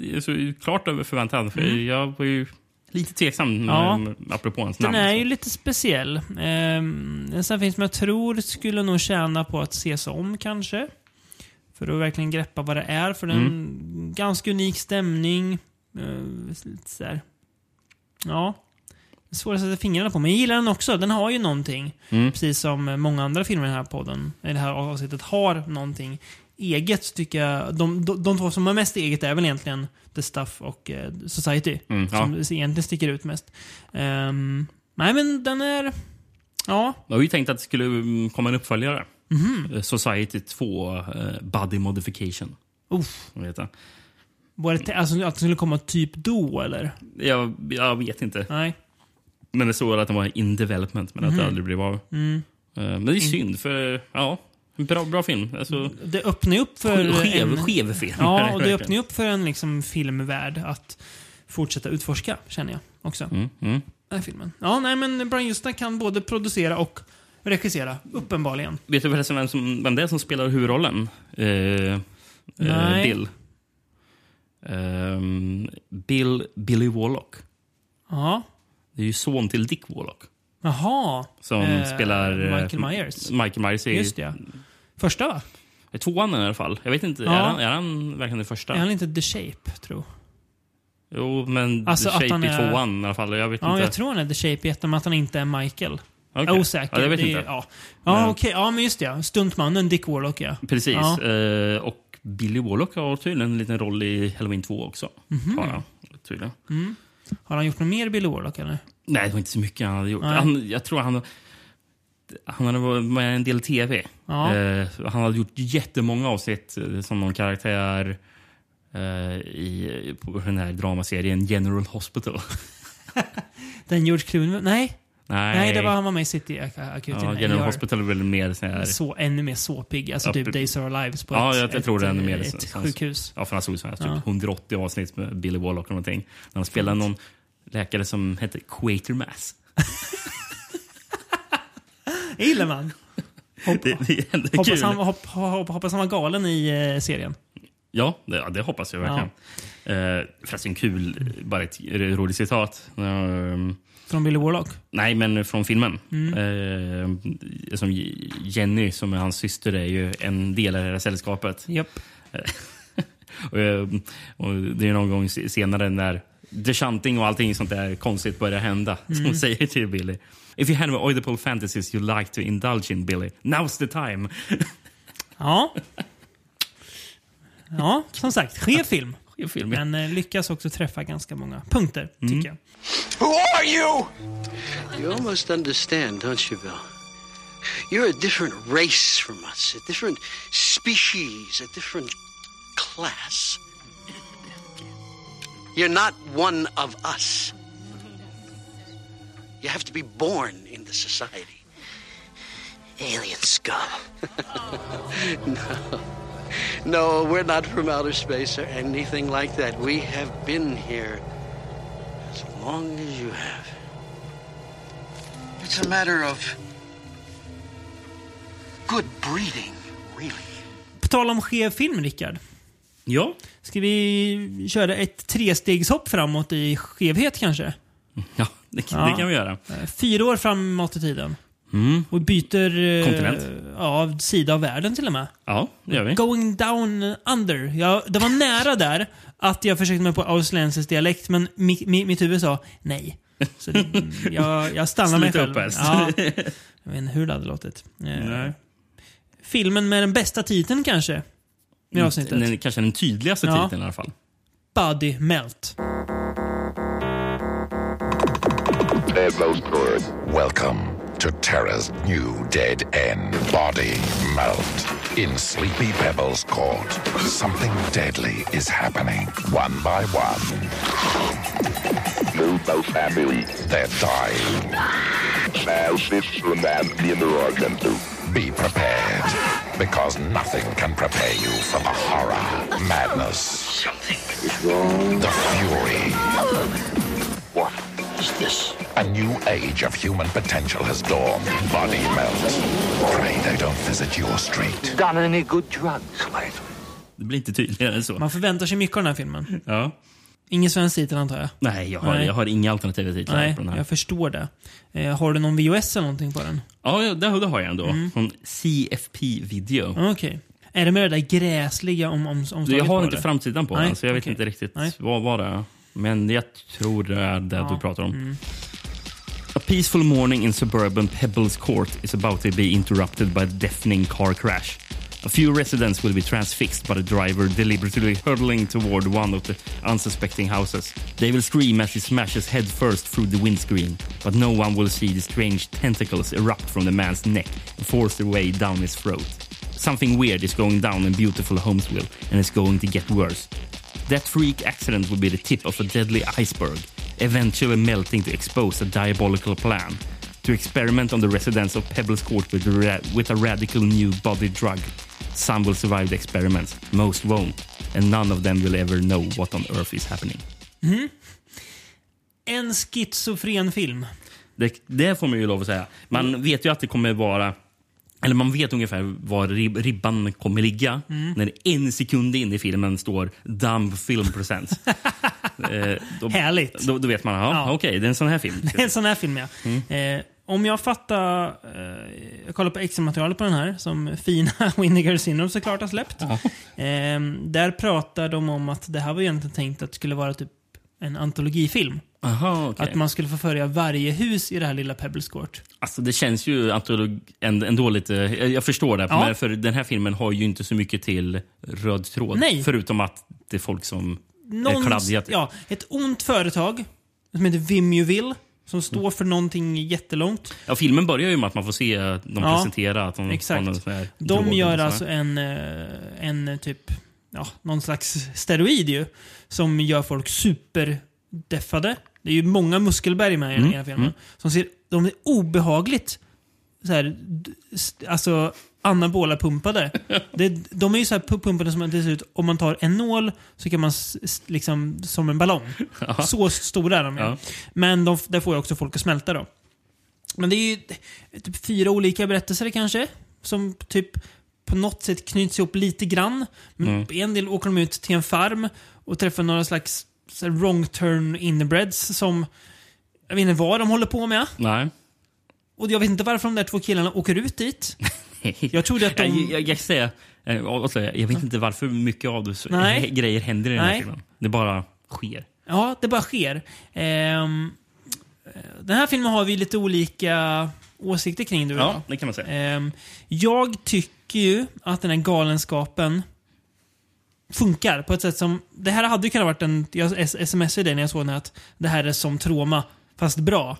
Speaker 2: Det är så klart över förväntan. För Jag var ju lite tveksam
Speaker 1: Ja.
Speaker 2: mm, apropå hans
Speaker 1: Den
Speaker 2: namn.
Speaker 1: är
Speaker 2: så.
Speaker 1: ju lite speciell. Eh, en sån här film som jag tror skulle nog tjäna på att ses om kanske. För att verkligen greppa vad det är. För den
Speaker 2: Mm.
Speaker 1: ganska unik stämning. Eh, lite så här. Ja. Det är Svårt att sätta fingrarna på, men jag gillar den också. Den har ju någonting.
Speaker 2: Mm.
Speaker 1: Precis som eh, många andra filmer i den här podden, i det här avsnittet, har någonting eget tycker jag. De, de, de två som har mest eget är väl egentligen The Stuff och eh, Society.
Speaker 2: Mm, ja.
Speaker 1: Som egentligen sticker ut mest. Ehm, nej men den är... Ja,
Speaker 2: Jag har ju tänkt att det skulle mm, komma en uppföljare. Eh,
Speaker 1: Mhm.
Speaker 2: Society 2 eh, Body Modification.
Speaker 1: uff.
Speaker 2: vad heter det?
Speaker 1: Var det, alltså att den skulle komma typ då eller?
Speaker 2: Jag, jag vet inte.
Speaker 1: Nej.
Speaker 2: Men det står att den var in development, men att
Speaker 1: Mhm.
Speaker 2: det aldrig blev av.
Speaker 1: Mm.
Speaker 2: Eh, Men det är synd, för ja, en bra, bra film. Alltså,
Speaker 1: Det öppnar ju upp för...
Speaker 2: skev,
Speaker 1: en-
Speaker 2: skev film.
Speaker 1: Ja, och det
Speaker 2: Verkligen.
Speaker 1: öppnar ju upp för en liksom, filmvärld att fortsätta utforska, känner jag också.
Speaker 2: Mm, mm.
Speaker 1: Den här filmen. Ja, nej men Brian Justin kan både producera och regissera, uppenbarligen.
Speaker 2: Vet du förresten vem, som, vem det är som spelar huvudrollen? Eh, eh,
Speaker 1: Nej.
Speaker 2: Bill. Ehm, Bill. Billy Warlock.
Speaker 1: Ja.
Speaker 2: Det är ju son till Dick Warlock.
Speaker 1: Jaha.
Speaker 2: Som
Speaker 1: Eh,
Speaker 2: spelar... eh,
Speaker 1: Michael Myers.
Speaker 2: Michael Myers är
Speaker 1: Just det, ja. Första va?
Speaker 2: Det är Tvåan i alla fall. Jag vet inte,
Speaker 1: Ja.
Speaker 2: är, han, är han verkligen den första?
Speaker 1: Är han inte The Shape, tro?
Speaker 2: Jo, men
Speaker 1: Alltså
Speaker 2: The
Speaker 1: att
Speaker 2: Shape
Speaker 1: han
Speaker 2: i
Speaker 1: är-
Speaker 2: tvåan i alla fall. Jag vet
Speaker 1: Ja,
Speaker 2: inte.
Speaker 1: jag tror han är The Shape i ettan, men att han inte är Michael.
Speaker 2: Okej.
Speaker 1: Jag är osäker.
Speaker 2: Ja, jag vet
Speaker 1: det, är-
Speaker 2: inte.
Speaker 1: Ja, ja okej. Ja, men just det. ja. Stuntmannen Dick Warlock, ja.
Speaker 2: Precis.
Speaker 1: Ja.
Speaker 2: Eh, och Billy Warlock har tydligen en liten roll i Halloween 2 också.
Speaker 1: Mhm.
Speaker 2: Har han, tydligen.
Speaker 1: Har han gjort något mer Bill Warlock, eller?
Speaker 2: Nej, det var inte så mycket han hade gjort.
Speaker 1: Nej.
Speaker 2: Han, jag tror han... Han hade varit med i en del tv.
Speaker 1: Ja.
Speaker 2: Eh, han hade gjort jättemånga avsnitt eh, som någon karaktär eh, i, på den här dramaserien General Hospital.
Speaker 1: Den George Clooney? Nej.
Speaker 2: Nej,
Speaker 1: Nej, det var han var med i City Ak- Akuten.
Speaker 2: Ja,
Speaker 1: Jag
Speaker 2: General
Speaker 1: gör
Speaker 2: Hospital är väl mer sån här...
Speaker 1: Så, ännu mer såpig. Alltså
Speaker 2: Ja,
Speaker 1: typ
Speaker 2: pre-
Speaker 1: Days of Our Lives på
Speaker 2: Ja,
Speaker 1: ett,
Speaker 2: jag- jag tror det är
Speaker 1: ett,
Speaker 2: ännu mer
Speaker 1: ett,
Speaker 2: så- så-
Speaker 1: sjukhus.
Speaker 2: Ja, för han såg så här, typ
Speaker 1: Ja.
Speaker 2: 180 avsnitt med Billy Warlock och någonting. När han spelade någon läkare som hette Quatermass.
Speaker 1: Det gillar man.
Speaker 2: Det, det är ändå kul.
Speaker 1: Hoppas han, hopp, hopp, hoppas han var galen i eh, serien.
Speaker 2: Ja, det, ja, det hoppas jag verkligen. Eh, förresten kul, bara ett roligt citat. Ehm,
Speaker 1: Från Billy Warlock.
Speaker 2: nej, men från filmen.
Speaker 1: Mm.
Speaker 2: Eh, som Jenny, som är hans syster, är ju en del av det här sällskapet.
Speaker 1: Japp.
Speaker 2: Och, eh, och det är någon gång se- senare när the shunting och allting sånt där konstigt börjar hända. Som
Speaker 1: Mm.
Speaker 2: hon säger till Billy. If you have oidipal fantasies you like to indulge in Billy, now's the time.
Speaker 1: Ja. Ja, som sagt. Skev film.
Speaker 2: I filmen.
Speaker 1: Men eh, lyckas också träffa ganska många punkter, tycker jag.
Speaker 3: Who are you?
Speaker 5: You almost understand, don't you, Bill? You're a different race from us, a different species, a different class. You're not one of us. You have to be born into society. Alien scum. no. No, we're not from outer space or anything like that. We have been here as long as you have. It's a matter of good breeding, really.
Speaker 1: På tal om skev film, Rickard.
Speaker 2: Ja.
Speaker 1: Ska vi köra ett trestegshopp framåt i skevhet kanske?
Speaker 2: Ja, det,
Speaker 1: Ja.
Speaker 2: det kan vi göra.
Speaker 1: Eh, Fyra år framåt i tiden. Och byter... eh,
Speaker 2: Kontinent.
Speaker 1: Ja, sida av världen till och med.
Speaker 2: Ja, det gör vi.
Speaker 1: Going down under. Ja, det var nära där att jag försökte mig på australiensisk dialekt, men mi, mi, mitt huvud sa nej. Så det, jag, jag stannar mig
Speaker 2: Sluta
Speaker 1: själv.
Speaker 2: upp helst.
Speaker 1: Ja, jag vet inte hur det hade låtit. Eh,
Speaker 2: Nej.
Speaker 1: Filmen med den bästa titeln kanske? I avsnittet.
Speaker 2: Den, kanske den tydligaste
Speaker 1: Ja.
Speaker 2: titeln i alla fall.
Speaker 1: Body Melt.
Speaker 11: Welcome to Terra's new dead end body melt. In Sleepy Pebbles Court, something deadly is happening one by one.
Speaker 3: Lupa family.
Speaker 11: They're dying.
Speaker 3: Now sister and I'm the American too.
Speaker 11: Be prepared, because nothing can prepare you for the horror, madness,
Speaker 3: It's wrong.
Speaker 11: the fury.
Speaker 3: What is this?
Speaker 11: A new age of human potential has dawned. Body melt. Pray they don't visit your street.
Speaker 3: Done any good drugs lately?
Speaker 2: Det blir inte tydligare än så.
Speaker 1: Man förväntar sig mycket av den här filmen.
Speaker 2: Ja.
Speaker 1: Ingen svensk titel antar jag?
Speaker 2: Nej, jag har,
Speaker 1: Nej.
Speaker 2: jag har inga alternativa titlar
Speaker 1: Nej,
Speaker 2: på den här.
Speaker 1: jag förstår det. Eh, har du någon VHS eller någonting på den?
Speaker 2: Ja, ja, det, det har jag ändå.
Speaker 1: Mm.
Speaker 2: Från CFP Video.
Speaker 1: Okej. Är det med det där gräsliga om, om, omslaget
Speaker 2: Du, jag
Speaker 1: på,
Speaker 2: har inte
Speaker 1: eller?
Speaker 2: framsidan på
Speaker 1: Nej,
Speaker 2: den, så jag vet
Speaker 1: okej.
Speaker 2: inte riktigt
Speaker 1: Nej.
Speaker 2: vad var det är. Men jag tror det är det
Speaker 1: Ja, mm.
Speaker 2: du pratar om. A peaceful morning in suburban Pebbles Court is about to be interrupted by a deafening car crash. A few residents will be transfixed by the driver deliberately hurtling toward one of the unsuspecting houses. They will scream as he smashes headfirst through the windscreen, but no one will see the strange tentacles erupt from the man's neck and force their way down his throat. Something weird is going down in beautiful Holmesville, and it's going to get worse. That freak accident will be the tip of a deadly iceberg, eventually melting to expose a diabolical plan to experiment on the residents of Pebbles Court with, ra- with a radical new body drug. Some will survive the experiments, most won't, and none of them will ever know what on earth is happening.
Speaker 1: En schizofren film.
Speaker 2: Det, det får man ju lov att säga. Man vet ju att det kommer vara... Eller man vet ungefär var rib ribban kommer ligga när det en sekund in i filmen står “Dumb film presents”. eh, då,
Speaker 1: Härligt.
Speaker 2: Då, då vet man, ja,
Speaker 1: Ja.
Speaker 2: okej, det är en sån här film.
Speaker 1: En sån här film ja.
Speaker 2: Mm.
Speaker 1: Eh, om jag fattar... Eh, jag kollar på extra-materialet på den här som fina Winnegar Syndrome såklart har släppt. Eh, där pratar de om att det här var egentligen tänkt att det skulle vara typ en antologifilm.
Speaker 2: Aha, okej.
Speaker 1: Att man skulle få följa varje hus i det här lilla Pebbles Court.
Speaker 2: Alltså det känns ju antolog- änd- ändå lite... eh, Jag, jag förstår det.
Speaker 1: Ja.
Speaker 2: Men för den här filmen har ju inte så mycket till röd tråd.
Speaker 1: Nej.
Speaker 2: Förutom att det är folk som är
Speaker 1: Någon-
Speaker 2: kladdiga. typ. till.
Speaker 1: ja, ett ont företag som heter Vimuville som står
Speaker 2: Mm.
Speaker 1: för någonting jättelångt.
Speaker 2: Ja, filmen börjar ju med att man får se dem
Speaker 1: Ja,
Speaker 2: presentera. Att de, har
Speaker 1: exakt.
Speaker 2: någon sån här drog
Speaker 1: De
Speaker 2: och
Speaker 1: gör
Speaker 2: sådär.
Speaker 1: alltså en, eh, en typ, ja, någon slags steroid ju. Som gör folk superdeffade. Det är ju många muskelberg med i
Speaker 2: Mm,
Speaker 1: den här filmen. Som ser, de är obehagligt så här, d- st- alltså anabola pumpade. Det, de är ju så här pu- pumpade som att det ser ut, om man tar en nål så kan man s, s- liksom som en ballong. Så stora är de ju.
Speaker 2: Ja.
Speaker 1: Men de, f- där får ju också folk att smälta då. Men det är ju typ fyra olika berättelser kanske. Som typ på något sätt knyts ihop lite grann. Men på en del åker de ut till en farm och träffar några slags så här, wrong turn inbreds som jag vet inte vad de håller på med.
Speaker 2: Nej.
Speaker 1: Och jag vet inte varför de där två killarna åker ut dit. Jag trodde att de-
Speaker 2: Jag, jag, jag, säger, eh, alltså, jag vet inte varför mycket av det, så-
Speaker 1: Nej.
Speaker 2: grejer händer i den här
Speaker 1: Nej.
Speaker 2: filmen. Det bara sker.
Speaker 1: Ja, det bara sker. Ehm, den här filmen har vi lite olika åsikter kring du och jag.
Speaker 2: Ja, det kan man säga.
Speaker 1: Ehm, jag tycker ju att den här galenskapen funkar på ett sätt som... Det här hade ju kunnat varit en... Jag s- smsade det när jag såg den här att det här är som trauma, fast bra.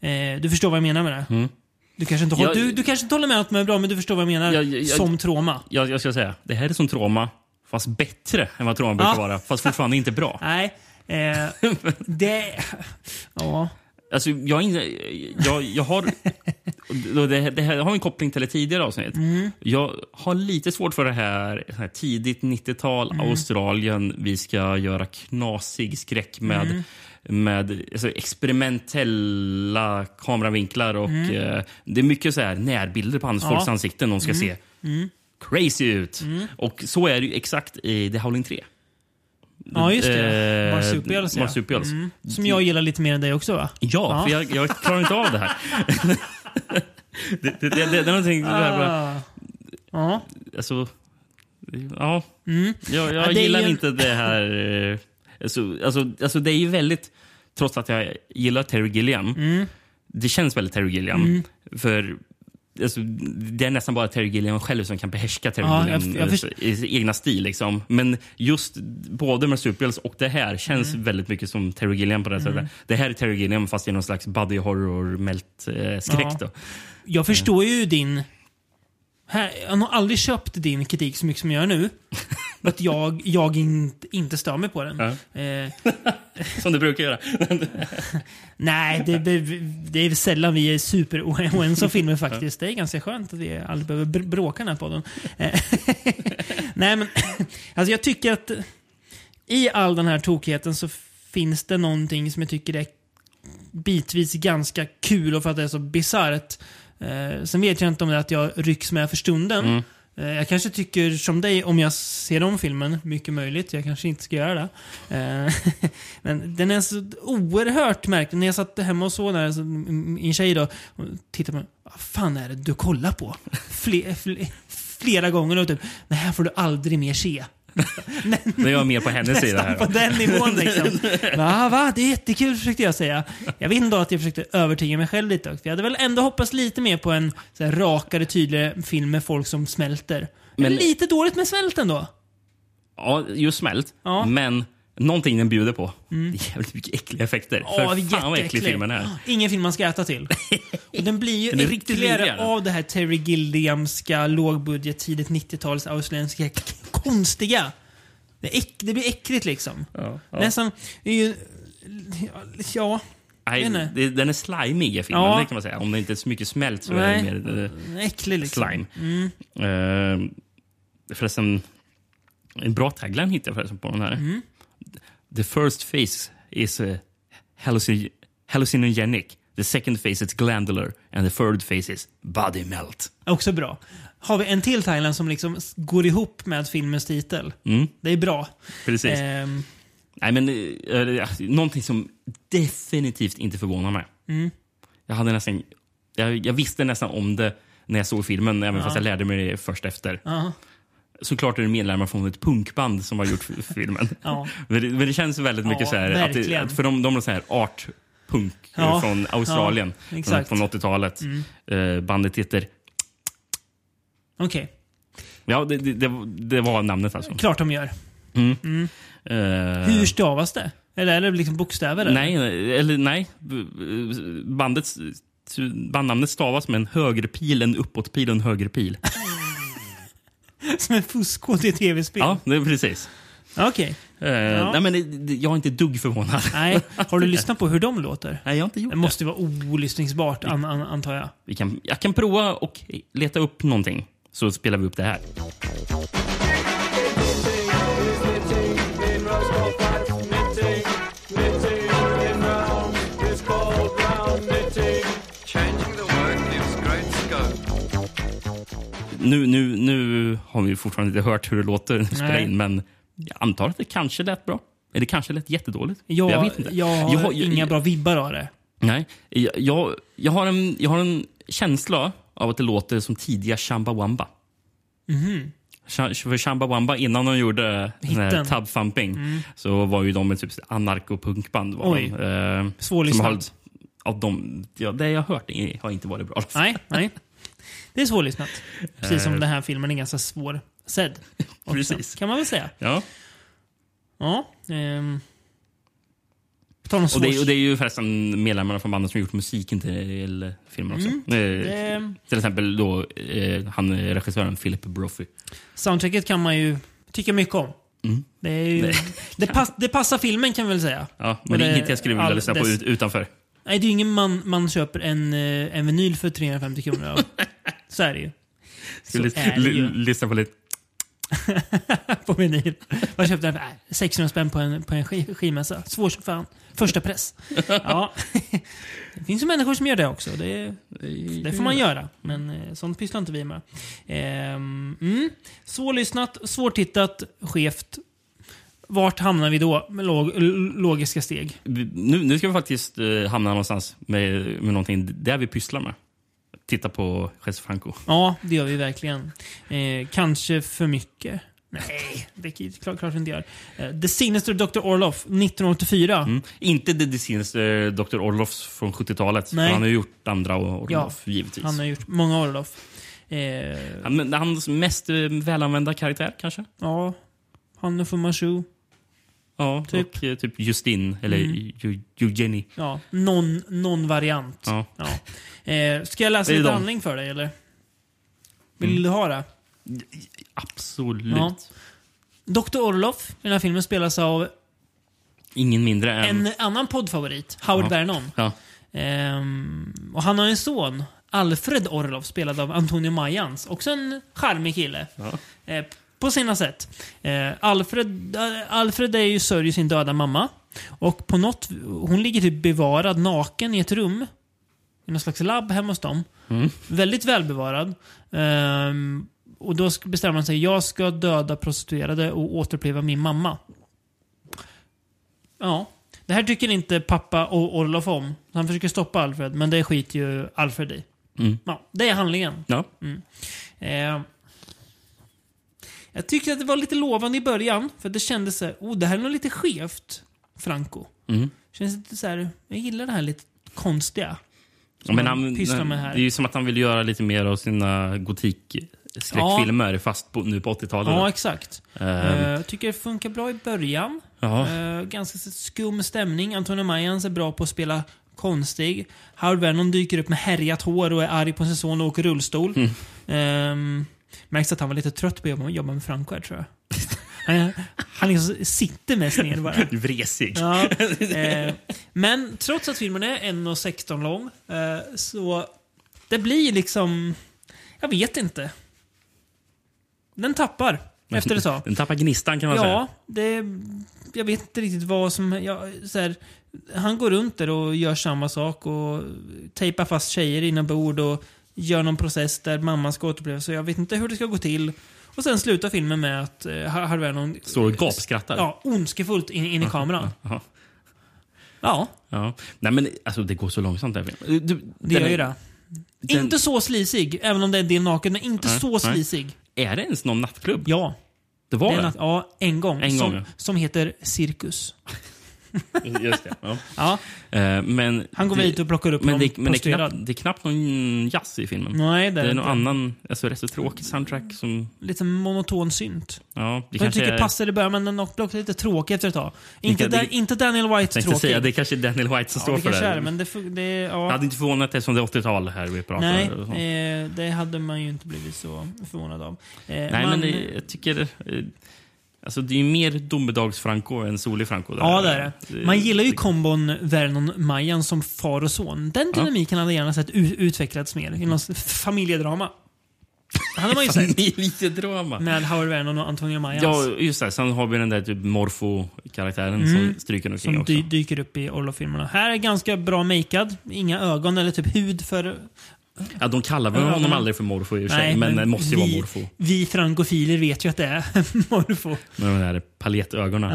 Speaker 1: Ehm, du förstår vad jag menar med det? Du, kanske inte, håll-
Speaker 2: Mm. Jag-
Speaker 1: du, du kanske inte håller med att det är bra, men du förstår vad jag menar.
Speaker 2: Jag- jag- jag-
Speaker 1: som trauma.
Speaker 2: Jag, jag ska säga, det här är som trauma, fast bättre än vad trauma brukar
Speaker 1: Ja.
Speaker 2: vara. Fast fortfarande inte bra.
Speaker 1: Nej. Eh, det... Ja.
Speaker 2: Alltså, jag, är inte- jag, jag har... och Det, det här har en koppling till ett tidigare avsnitt. Jag har lite svårt för det här, det här tidigt 90-tal, Australien. Vi ska göra knasig skräck med, med alltså, experimentella kameravinklar. Och, eh, det är mycket så här närbilder på andra folks ansikten. De ska se crazy ut. Och så är det ju exakt i The Howling 3.
Speaker 1: ja, just det.
Speaker 2: Eh,
Speaker 1: Marsupials, ja. Mm.
Speaker 2: Marsupials.
Speaker 1: Som jag gillar lite mer än dig också va?
Speaker 2: Ja, för jag, jag klarar inte av det här. Det, det, det, det är någonting... så här bara,
Speaker 1: Ah. Ja.
Speaker 2: alltså, ja.
Speaker 1: Mm.
Speaker 2: Jag,
Speaker 1: Ja,
Speaker 2: jag
Speaker 1: det är
Speaker 2: gillar
Speaker 1: ju en-
Speaker 2: inte det här... eh, Alltså, alltså, alltså det är ju väldigt... Trots att jag gillar Terry Gilliam.
Speaker 1: Mm.
Speaker 2: Det känns väldigt Terry Gilliam. För alltså, det är nästan bara Terry Gilliam själv som kan behärska Terry
Speaker 1: Ja, jag-
Speaker 2: Gilliam
Speaker 1: jag
Speaker 2: eh,
Speaker 1: först-
Speaker 2: i sin egna stil. Liksom. Men just både Marsupials och det här känns
Speaker 1: Mm.
Speaker 2: väldigt mycket som Terry Gilliam på det här sättet. Det här är Terry Gilliam fast i någon slags eh, buddy horror-melt-skräck.
Speaker 1: Ja. Jag förstår ju din... Här, jag har nog aldrig köpt din kritik så mycket som jag gör nu. Att jag, jag inte, inte stör mig på den. Eh,
Speaker 2: Som du brukar göra.
Speaker 1: nej, det, det- det är sällan vi är superoense om filmer faktiskt. Det är ganska skönt att vi aldrig behöver br- bråka i den här podden. Eh, nej, men alltså jag tycker att i all den här tokigheten så finns det någonting som jag tycker är bitvis ganska kul och för att det är så bisarrt. Eh, sen vet jag inte om det är att jag rycks med för stunden. Eh, jag kanske tycker som dig om jag ser om filmen, mycket möjligt. Jag kanske inte ska göra det. Eh, men den är så oerhört märklig. När jag satt hemma och såg den här, så min tjej då, hon tittade på mig. Vad fan är det du kollar på? Fle, fle, flera gånger och typ, det här får du aldrig mer se.
Speaker 2: Nu är jag mer på hennes sida här.
Speaker 1: På den nivån liksom. Va, va? Det är jättekul försökte jag säga. Jag vet inte att jag försökte övertyga mig själv lite. också. Jag hade väl ändå hoppats lite mer på en så här, rakare, tydligare film med folk som smälter. Men
Speaker 2: Men-
Speaker 1: lite dåligt med smält ändå.
Speaker 2: Ja, just smält.
Speaker 1: Ja. Mm.
Speaker 2: Men någonting den bjuder på. Det är jävligt mycket äckliga effekter.
Speaker 1: Åh, det är
Speaker 2: För fan vad äcklig
Speaker 1: jätteäckligt.
Speaker 2: filmen är.
Speaker 1: Ingen film man ska äta till. Och den blir ju
Speaker 2: Den är riktigt
Speaker 1: äckligare
Speaker 2: vidrig,
Speaker 1: av det här Terry Gilliamska, lågbudget, tidigt 90-tals australiensiska k- konstiga. Det, är äck, det blir äckligt liksom.
Speaker 2: Ja, ja.
Speaker 1: Nästan, det är ju... Ja.
Speaker 2: Nej,
Speaker 1: jag vet inte.
Speaker 2: det, den är slimig i filmen,
Speaker 1: Ja.
Speaker 2: det kan man säga. Om det inte är så mycket smält så är
Speaker 1: Nej.
Speaker 2: det mer eh,
Speaker 1: Äcklig liksom.
Speaker 2: slime. Ehm, förresten, en bra tagline hittade jag förresten på den här.
Speaker 1: Mm.
Speaker 2: The first phase is eh, hallucin- hallucinogenic. The second phase is glandular. And the third phase is body melt.
Speaker 1: Också bra. Har vi en till Thailand som liksom s- går ihop med filmens titel.
Speaker 2: Mm,
Speaker 1: Det är bra.
Speaker 2: precis.
Speaker 1: Ehm,
Speaker 2: Nej, men eh, eh, någonting som definitivt inte förvånar mig.
Speaker 1: Mm.
Speaker 2: Jag, hade nästan, jag, jag visste nästan om det när jag såg filmen, även fast jag lärde mig det först efter.
Speaker 1: ja.
Speaker 2: Såklart är det medlemmar från ett punkband som har gjort f- filmen.
Speaker 1: Ja.
Speaker 2: men, det, men det känns väldigt mycket
Speaker 1: Ja,
Speaker 2: så här, att det,
Speaker 1: verkligen.
Speaker 2: att för de, de är så här art punk eh,
Speaker 1: Ja,
Speaker 2: från Australien
Speaker 1: ja, exakt. Mm.
Speaker 2: från 80-talet. Eh, bandet heter...
Speaker 1: Okej,
Speaker 2: Ja, det, det, det, det var namnet alltså.
Speaker 1: klart de gör.
Speaker 2: Eh,
Speaker 1: Hur stavas det? Eller är det liksom bokstäver? eller?
Speaker 2: Nej, eller nej. B- b- Bandets, bandnamnet stavas med en högerpil, en uppåtpil och en högerpil.
Speaker 1: Som en fuskkod i ett tv-spel?
Speaker 2: Ja, det är precis.
Speaker 1: Okej.
Speaker 2: Eh, Nej, men det- det, jag är inte ett dugg förvånad.
Speaker 1: Nej. Har du lyssnat på hur de låter?
Speaker 2: Nej, jag har inte gjort
Speaker 1: Det
Speaker 2: det.
Speaker 1: måste ju vara olyssningsbart an, an, antar jag.
Speaker 2: Vi kan, jag kan prova och leta upp någonting, så spelar vi upp det här.
Speaker 12: Changing the work gives great scope.
Speaker 2: Nu, nu, nu har vi fortfarande inte hört hur det låter när vi spelar
Speaker 1: Nej.
Speaker 2: in, men jag antar att det kanske lät bra. Eller det kanske lät jättedåligt.
Speaker 1: Jag,
Speaker 2: jag vet inte.
Speaker 1: jag har
Speaker 2: Jag- jag-
Speaker 1: inga bra vibbar av det.
Speaker 2: Nej, jag, jag, jag, har en, jag har en känsla av att det låter som tidiga Chambawamba. Mm. För Chambawamba, innan de gjorde den här
Speaker 1: Mhm. Hitten. Mm.
Speaker 2: Tub Thumping, så var ju de ett typ anarkopunkband. Var
Speaker 1: Oj.
Speaker 2: de, eh,
Speaker 1: Svårlyssnat.
Speaker 2: som har- Av de, ja, det jag har hört är- har inte varit bra.
Speaker 1: Nej, nej. Det är svårlyssnat. Precis som den här filmen är ganska svår sedd. också,
Speaker 2: Eh. Precis.
Speaker 1: Kan man väl säga.
Speaker 2: Ja.
Speaker 1: Ja. Ehm. På tal om
Speaker 2: Och, det, är-
Speaker 1: svår-
Speaker 2: och det är ju förresten medlemmarna från bandet som har gjort musiken till filmen också. Eh,
Speaker 1: Mm. det-
Speaker 2: Till exempel då eh, han eh, regissören Philip Brophy.
Speaker 1: Soundtracket kan man ju tycka mycket om. Det, är ju,
Speaker 2: Mm. Nej.
Speaker 1: det, pass, det passar filmen kan vi väl säga.
Speaker 2: Ja, men
Speaker 1: Och
Speaker 2: det
Speaker 1: det-
Speaker 2: är inget jag skulle vilja
Speaker 1: all
Speaker 2: lyssna på
Speaker 1: dess-
Speaker 2: ut, utanför.
Speaker 1: Nej, det är ju ingen man, man köper en, eh, en vinyl för 350 kronor av. Så är det ju. Så
Speaker 2: Skulle
Speaker 1: är det ju.
Speaker 2: lyssna på lite
Speaker 1: På vinyl. Vad köpte den för? Nej, 600 spänn på en, på en sk- skivmässa. Svår som fan. Första press. Ja. Det finns ju människor som gör det också. Det, det får man göra. Men eh, sånt pysslar inte vi med. Ehm, mm. Svårlyssnat, svårtittat, skevt. Vart hamnar vi då med log- l- logiska steg?
Speaker 2: nu, nu ska vi faktiskt eh, hamna någonstans med, med någonting där vi pysslar med. titta på Jesse Franco.
Speaker 1: Ja, det gör vi verkligen. Eh, kanske för mycket. Nej, det är klart, klart vi inte gör. Eh, The Sinister Dr. Orloff, 1984.
Speaker 2: Mm. Inte The Sinister Dr. Orloffs från 70-talet.
Speaker 1: Nej.
Speaker 2: men Han har ju gjort andra Orloff,
Speaker 1: Ja,
Speaker 2: givetvis.
Speaker 1: Han har gjort många Orloff. Eh,
Speaker 2: Han- men hans mest eh, välanvända karaktär, kanske?
Speaker 1: ja, han är från Manchu.
Speaker 2: Ja, typ. och eh, typ Justin, eller
Speaker 1: Mm.
Speaker 2: Eu- Eugenie.
Speaker 1: Ja, någon, någon variant.
Speaker 2: Ja.
Speaker 1: Ja. Eh, ska jag läsa
Speaker 2: Det
Speaker 1: lite
Speaker 2: är de. Mm.
Speaker 1: handling för dig eller? Vill du ha det?
Speaker 2: Absolut.
Speaker 1: Ja. Dr. Orloff i den här filmen spelas av
Speaker 2: Ingen mindre än...
Speaker 1: en annan poddfavorit, Howard
Speaker 2: Ja.
Speaker 1: Vernon.
Speaker 2: Ja.
Speaker 1: Ehm, och han har en son, Alfred Orloff, spelad av Antonio Mayans. Också en charmig kille.
Speaker 2: Ja.
Speaker 1: Eh, på sina sätt. Eh, Alfred, eh, Alfred är ju sörjer sin döda mamma. Och på något, hon ligger typ bevarad naken i ett rum. I någon slags labb hemma hos dem. Väldigt välbevarad. Ehm, och då sk- bestämmer han sig, jag ska döda prostituerade och återuppleva min mamma. Ja. Det här tycker inte pappa och Orlof om. Han försöker stoppa Alfred, men det skiter ju Alfred i.
Speaker 2: Mm.
Speaker 1: Ja, det är handlingen.
Speaker 2: Ja.
Speaker 1: Mm. Eh, jag tyckte att det var lite lovande i början, för det kändes så här, oh, det här är nog lite skevt, Franco.
Speaker 2: Mm.
Speaker 1: Känns lite så här, jag gillar det här lite konstiga.
Speaker 2: Ja,
Speaker 1: Som
Speaker 2: men
Speaker 1: han,
Speaker 2: han,
Speaker 1: pysslar Mm. med här.
Speaker 2: det är ju som att han vill göra lite mer av sina gotik-skräckfilmer, fast på, nu på 80-talet.
Speaker 1: Ja, exakt.
Speaker 2: Ehm.
Speaker 1: Eh, jag tycker det funkar bra i början.
Speaker 2: Ja.
Speaker 1: Eh, ganska så skum stämning. Antonio Mayans är bra på att spela konstig. Howard Vernon dyker upp med härjat hår och är arg på sin son och åker rullstol.
Speaker 2: Mm.
Speaker 1: Ehm, märks att han var lite trött på att jobba- jobba med Franco här, tror jag. Han, han liksom sitter mest ner bara.
Speaker 2: Vresig.
Speaker 1: Ja, eh, men trots att filmen är 1.16 lång eh, så det blir liksom... Jag vet inte. Den tappar efter ett tag.
Speaker 2: Den tappar gnistan kan man
Speaker 1: Ja,
Speaker 2: säga.
Speaker 1: det, jag vet inte riktigt vad som... Jag, så här, han går runt där och gör samma sak och tejpar fast tjejer inombords och gör någon process där mamman ska återuppleva så jag vet inte hur det ska gå till. Och sen slutar filmen med att eh, Har- Harry Vernon...
Speaker 2: Står och gapskrattar.
Speaker 1: Ja, ondskefullt in, in i kameran.
Speaker 2: Ja.
Speaker 1: Ja,
Speaker 2: Ja. Nej, men alltså, det går så långsamt där. Du,
Speaker 1: det
Speaker 2: den
Speaker 1: gör
Speaker 2: är-
Speaker 1: ju det.
Speaker 2: den-
Speaker 1: Inte så slisig, även om det är en del naken, men inte
Speaker 2: Nej,
Speaker 1: så
Speaker 2: nej.
Speaker 1: slisig.
Speaker 2: Är det ens någon nattklubb?
Speaker 1: Ja.
Speaker 2: Det var
Speaker 1: Det är
Speaker 2: det?
Speaker 1: natt- ja, en gång.
Speaker 2: En gång,
Speaker 1: som,
Speaker 2: ja.
Speaker 1: som heter Cirkus.
Speaker 2: Just det. Ja.
Speaker 1: Ja.
Speaker 2: Eh, men
Speaker 1: Han går
Speaker 2: det-
Speaker 1: väl dit och plockar upp
Speaker 2: men
Speaker 1: någon
Speaker 2: det, men det, är
Speaker 1: prostituerad.
Speaker 2: knappt, det är knappt någon jazz i filmen.
Speaker 1: Nej, det
Speaker 2: det
Speaker 1: är
Speaker 2: är
Speaker 1: det
Speaker 2: någon
Speaker 1: inte.
Speaker 2: annan, alltså rätt så tråkig soundtrack som...
Speaker 1: Lite monoton synt.
Speaker 2: Ja, det
Speaker 1: Det jag
Speaker 2: kanske
Speaker 1: tycker
Speaker 2: är,
Speaker 1: passar i början, men den också blev lite tråkig efter ett tag. Inte,
Speaker 2: kan- det-
Speaker 1: da, inte Daniel White
Speaker 2: Jag tänkte
Speaker 1: tråkig.
Speaker 2: säga, det kanske är Daniel White som
Speaker 1: ja,
Speaker 2: står
Speaker 1: det
Speaker 2: för
Speaker 1: kanske
Speaker 2: det.
Speaker 1: är det, men det... fun- det
Speaker 2: Jag
Speaker 1: ja.
Speaker 2: hade inte förvånat eftersom det är 80-tal här vi pratar.
Speaker 1: Nej,
Speaker 2: och sånt.
Speaker 1: eh, det hade man ju inte blivit så förvånad av. Eh,
Speaker 2: Nej,
Speaker 1: man-
Speaker 2: men eh, jag tycker... eh, Alltså det är ju mer domedags-Franco än solig Franco. där.
Speaker 1: Ja, det är det. Man gillar ju kombon Vernon-Majan som far och son. Den
Speaker 2: Ja. Mm.
Speaker 1: dynamiken hade jag gärna sett u- utvecklats mer i någon s- familjedrama. Det hade man ju sett.
Speaker 2: Familjedrama.
Speaker 1: Med Howard Vernon och Antonio Mayans.
Speaker 2: Ja, just det. Sen har vi den där typ morfo-karaktären
Speaker 1: alltså. Mm.
Speaker 2: som stryker omkring
Speaker 1: Som
Speaker 2: också.
Speaker 1: dy dyker upp i Orlof-filmerna. Här är ganska bra makead. Inga ögon eller typ hud för...
Speaker 2: Ja, de kallar väl
Speaker 1: Ja,
Speaker 2: honom
Speaker 1: men-
Speaker 2: aldrig för morfo i och för sig, men det måste ju vara morfo.
Speaker 1: Vi frankofiler vet ju att det är morfo.
Speaker 2: Med de där paljettögonen.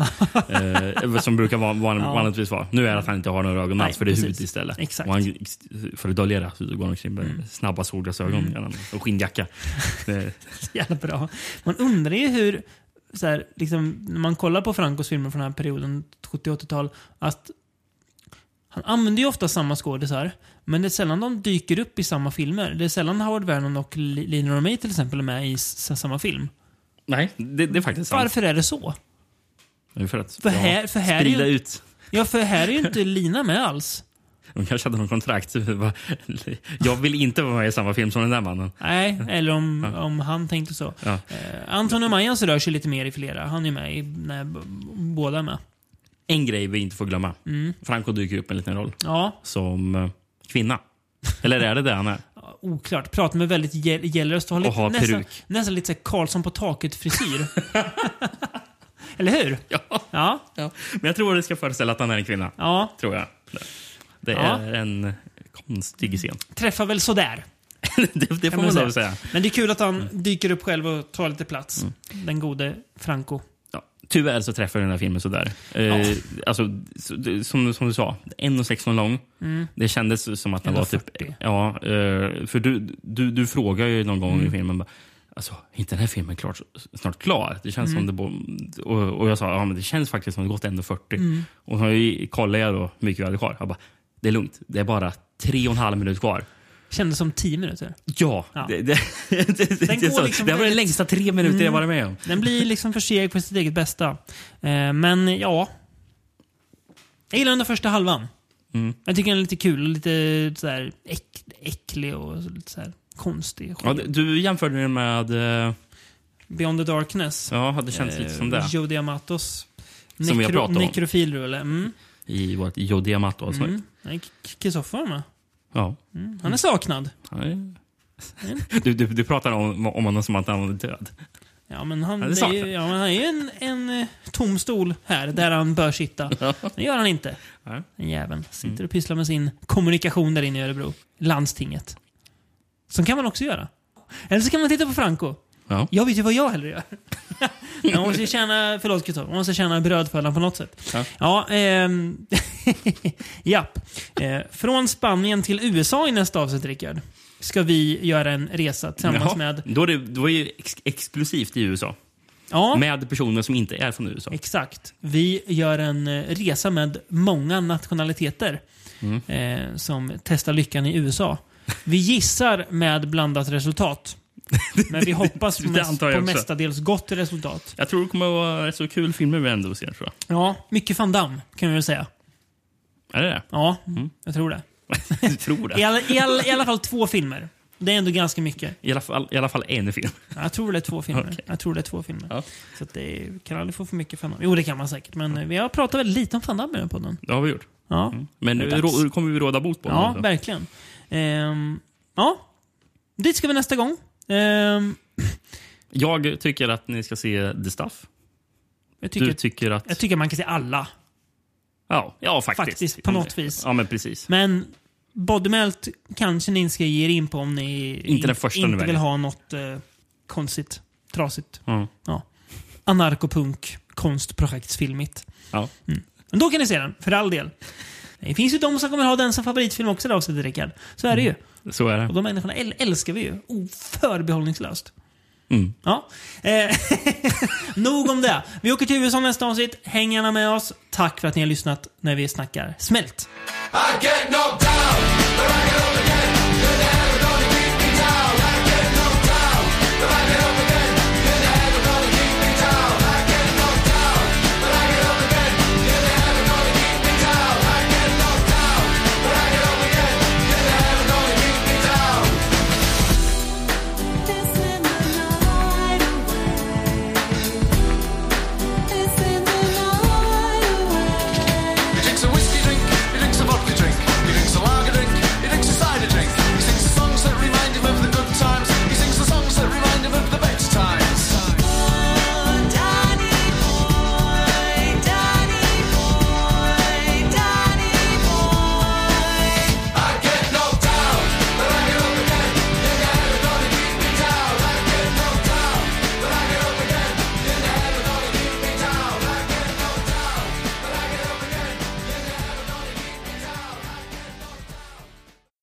Speaker 2: eh, som brukar van, van,
Speaker 1: Ja.
Speaker 2: vanligtvis vara. Nu är det att han inte har några ögon
Speaker 1: Nej,
Speaker 2: alls, för det är
Speaker 1: precis.
Speaker 2: hud istället.
Speaker 1: Exakt. Mm.
Speaker 2: Och han, för att dölja det så går han omkring med snabba solglasögon mm. och skinnjacka. Eh,
Speaker 1: Jävla bra. Man undrar ju hur, så här, liksom, när man kollar på Francos filmer från den här perioden, 70-80-tal, att han använder ju ofta samma skådisar, men det är sällan de dyker upp i samma filmer. Det är sällan Howard Vernon och Li- Lina Romay till exempel är med i s- samma film.
Speaker 2: nej, det, det är faktiskt sant.
Speaker 1: Varför är det så?
Speaker 2: Det är För att
Speaker 1: För här- för här är
Speaker 2: sprida
Speaker 1: ju-
Speaker 2: ut.
Speaker 1: Ja, för här är ju inte Lina med alls.
Speaker 2: De kanske hade någon kontrakt. så det var- Jag vill inte vara med i samma film som den där mannen.
Speaker 1: Nej, eller om, om han tänkte så.
Speaker 2: Ja.
Speaker 1: Eh, Antonio Mayans rör sig lite mer i flera. Han är med i, när b- båda är med.
Speaker 2: En grej vi inte får glömma.
Speaker 1: Mm.
Speaker 2: Franco dyker upp med en liten roll.
Speaker 1: Ja,
Speaker 2: Som eh, kvinna. Eller är det det han är?
Speaker 1: oklart. Pratar med väldigt gäll- gällröst och har,
Speaker 2: Och
Speaker 1: lite,
Speaker 2: har
Speaker 1: nästan,
Speaker 2: peruk.
Speaker 1: nästan lite så här Karlsson på taket-frisyr. eller hur?
Speaker 2: Ja.
Speaker 1: Ja.
Speaker 2: Men jag tror det ska föreställa att han är en kvinna.
Speaker 1: ja.
Speaker 2: Tror jag. Det
Speaker 1: Ja.
Speaker 2: är en konstig scen.
Speaker 1: Träffar väl sådär.
Speaker 2: det, det
Speaker 1: kan
Speaker 2: får man
Speaker 1: man
Speaker 2: lov att säga. Mm.
Speaker 1: Men det är kul att han dyker upp själv och tar lite plats. Den gode Franco.
Speaker 2: Ja. Tyvärr så träffar den här filmen sådär. Eh, alltså, så, det- som, som du sa, 1,16 lång.
Speaker 1: Mm.
Speaker 2: Det kändes som att den var typ... Ja, eh, för du, du, du frågar ju någon gång i
Speaker 1: Mm.
Speaker 2: filmen bara, Alltså, är inte den här filmen klart, snart klar? Det känns
Speaker 1: Mm.
Speaker 2: som det... bo- Och, och jag sa, ja men det känns faktiskt som det gått 1,40.
Speaker 1: Mm.
Speaker 2: Och så kollade jag då hur mycket vi hade kvar. Jag bara, det är lugnt. Det är bara tre och en halv minut kvar.
Speaker 1: Kändes som tio minuter.
Speaker 2: Ja,
Speaker 1: Ja.
Speaker 2: Det, det, det, det,
Speaker 1: Den
Speaker 2: det,
Speaker 1: går
Speaker 2: så-
Speaker 1: liksom
Speaker 2: det var den
Speaker 1: väldigt-
Speaker 2: längsta tre minuter jag
Speaker 1: Mm.
Speaker 2: varit med om.
Speaker 1: Den blir liksom för seg för sitt eget bästa. Eh, men ja. Jag gillar den där första halvan.
Speaker 2: Mm.
Speaker 1: Jag tycker den är lite kul och lite sådär äck, äcklig och så- lite sådär konstig.
Speaker 2: Ja, d- du jämförde den med... eh,
Speaker 1: Beyond the Darkness.
Speaker 2: Ja, det känns lite som det.
Speaker 1: Joe Diamatos
Speaker 2: Som vi har pratat om.
Speaker 1: nekrofilrulle. Mm.
Speaker 2: I vårt Joe Diamato-avsnitt.
Speaker 1: Mm. Nej, K- Kristoffer var med.
Speaker 2: Ja.
Speaker 1: Mm. Han är saknad.
Speaker 2: Han är- Du, du, du pratar om, om honom som att han är död.
Speaker 1: Ja, men han,
Speaker 2: Han är
Speaker 1: det är ju,
Speaker 2: saknad.
Speaker 1: ja, men han är ju en, en eh, tom stol här, där han bör sitta. Det gör han inte.
Speaker 2: Nej. Mm.
Speaker 1: Den jäveln sitter och pysslar med sin kommunikation där inne i Örebro. Landstinget. Som kan man också göra. Eller så kan man titta på Franco.
Speaker 2: Ja.
Speaker 1: Jag vet ju vad jag hellre gör. man måste ju tjäna, förlåt Kristoffer, man måste tjäna brödfödan på något sätt.
Speaker 2: Ja.
Speaker 1: Ja, ehm, japp. Eh, från Spanien till USA i nästa avsnitt, Rickard, ska vi göra en resa tillsammans
Speaker 2: Jaha.
Speaker 1: med...
Speaker 2: Då är det, då är det ju ex exklusivt i USA.
Speaker 1: Ja,
Speaker 2: Med personer som inte är från USA.
Speaker 1: Exakt. Vi gör en eh, resa med många nationaliteter
Speaker 2: Mm.
Speaker 1: eh, som testar lyckan i USA. Vi gissar med blandat resultat. Men vi hoppas på,
Speaker 2: Det
Speaker 1: mest,
Speaker 2: antar jag
Speaker 1: på
Speaker 2: också.
Speaker 1: mestadels gott resultat.
Speaker 2: Jag tror det kommer att vara rätt så kul filmer vi ändå ser. Tror
Speaker 1: Ja, mycket van Damme kan vi väl säga.
Speaker 2: jag. Är det det?
Speaker 1: Ja,
Speaker 2: Mm.
Speaker 1: jag tror det.
Speaker 2: Jag tror det.
Speaker 1: I alla, i, alla, I alla fall två filmer. Det är ändå ganska mycket.
Speaker 2: I alla fall, i alla fall en film.
Speaker 1: Jag tror det är två filmer.
Speaker 2: Okej.
Speaker 1: Jag tror det är två filmer.
Speaker 2: Ja.
Speaker 1: Så att det kan aldrig få för mycket van Damme. Jo, det kan man säkert. Men eh, vi har pratat väldigt lite om van Damme i den här podden.
Speaker 2: Det har vi gjort.
Speaker 1: Ja.
Speaker 2: Men
Speaker 1: Det
Speaker 2: nu
Speaker 1: är dags.
Speaker 2: rå- kommer vi råda bot på
Speaker 1: Ja,
Speaker 2: det.
Speaker 1: verkligen. Ehm, ja, dit ska vi nästa gång. Ehm,
Speaker 2: Jag tycker att ni ska se The Stuff.
Speaker 1: jag, tycker,
Speaker 2: du tycker att...
Speaker 1: jag tycker man kan se alla.
Speaker 2: ja, ja, faktiskt.
Speaker 1: Faktiskt, på något vis.
Speaker 2: Ja, men precis.
Speaker 1: Men Bodymelt kanske ni ska ge er in på om ni
Speaker 2: Inte den första
Speaker 1: inte
Speaker 2: ni
Speaker 1: vill
Speaker 2: väljer.
Speaker 1: ha något eh, konstigt, trasigt.
Speaker 2: Ja.
Speaker 1: Ja. Anarkopunk, konstprojektsfilmigt.
Speaker 2: Ja.
Speaker 1: Men då kan ni se den, för all del. Det finns ju de som kommer ha den som favoritfilm också i det här avsnittet, Rickard. Så är det ju.
Speaker 2: Så är det.
Speaker 1: Och de människorna äl- älskar vi ju. Oförbehållningslöst.
Speaker 2: Mm.
Speaker 1: Ja. Eh, nog om det. Vi åker till USA nästa avsnitt. Häng gärna med oss. Tack för att ni har lyssnat när vi snackar smält.
Speaker 12: I get knocked down.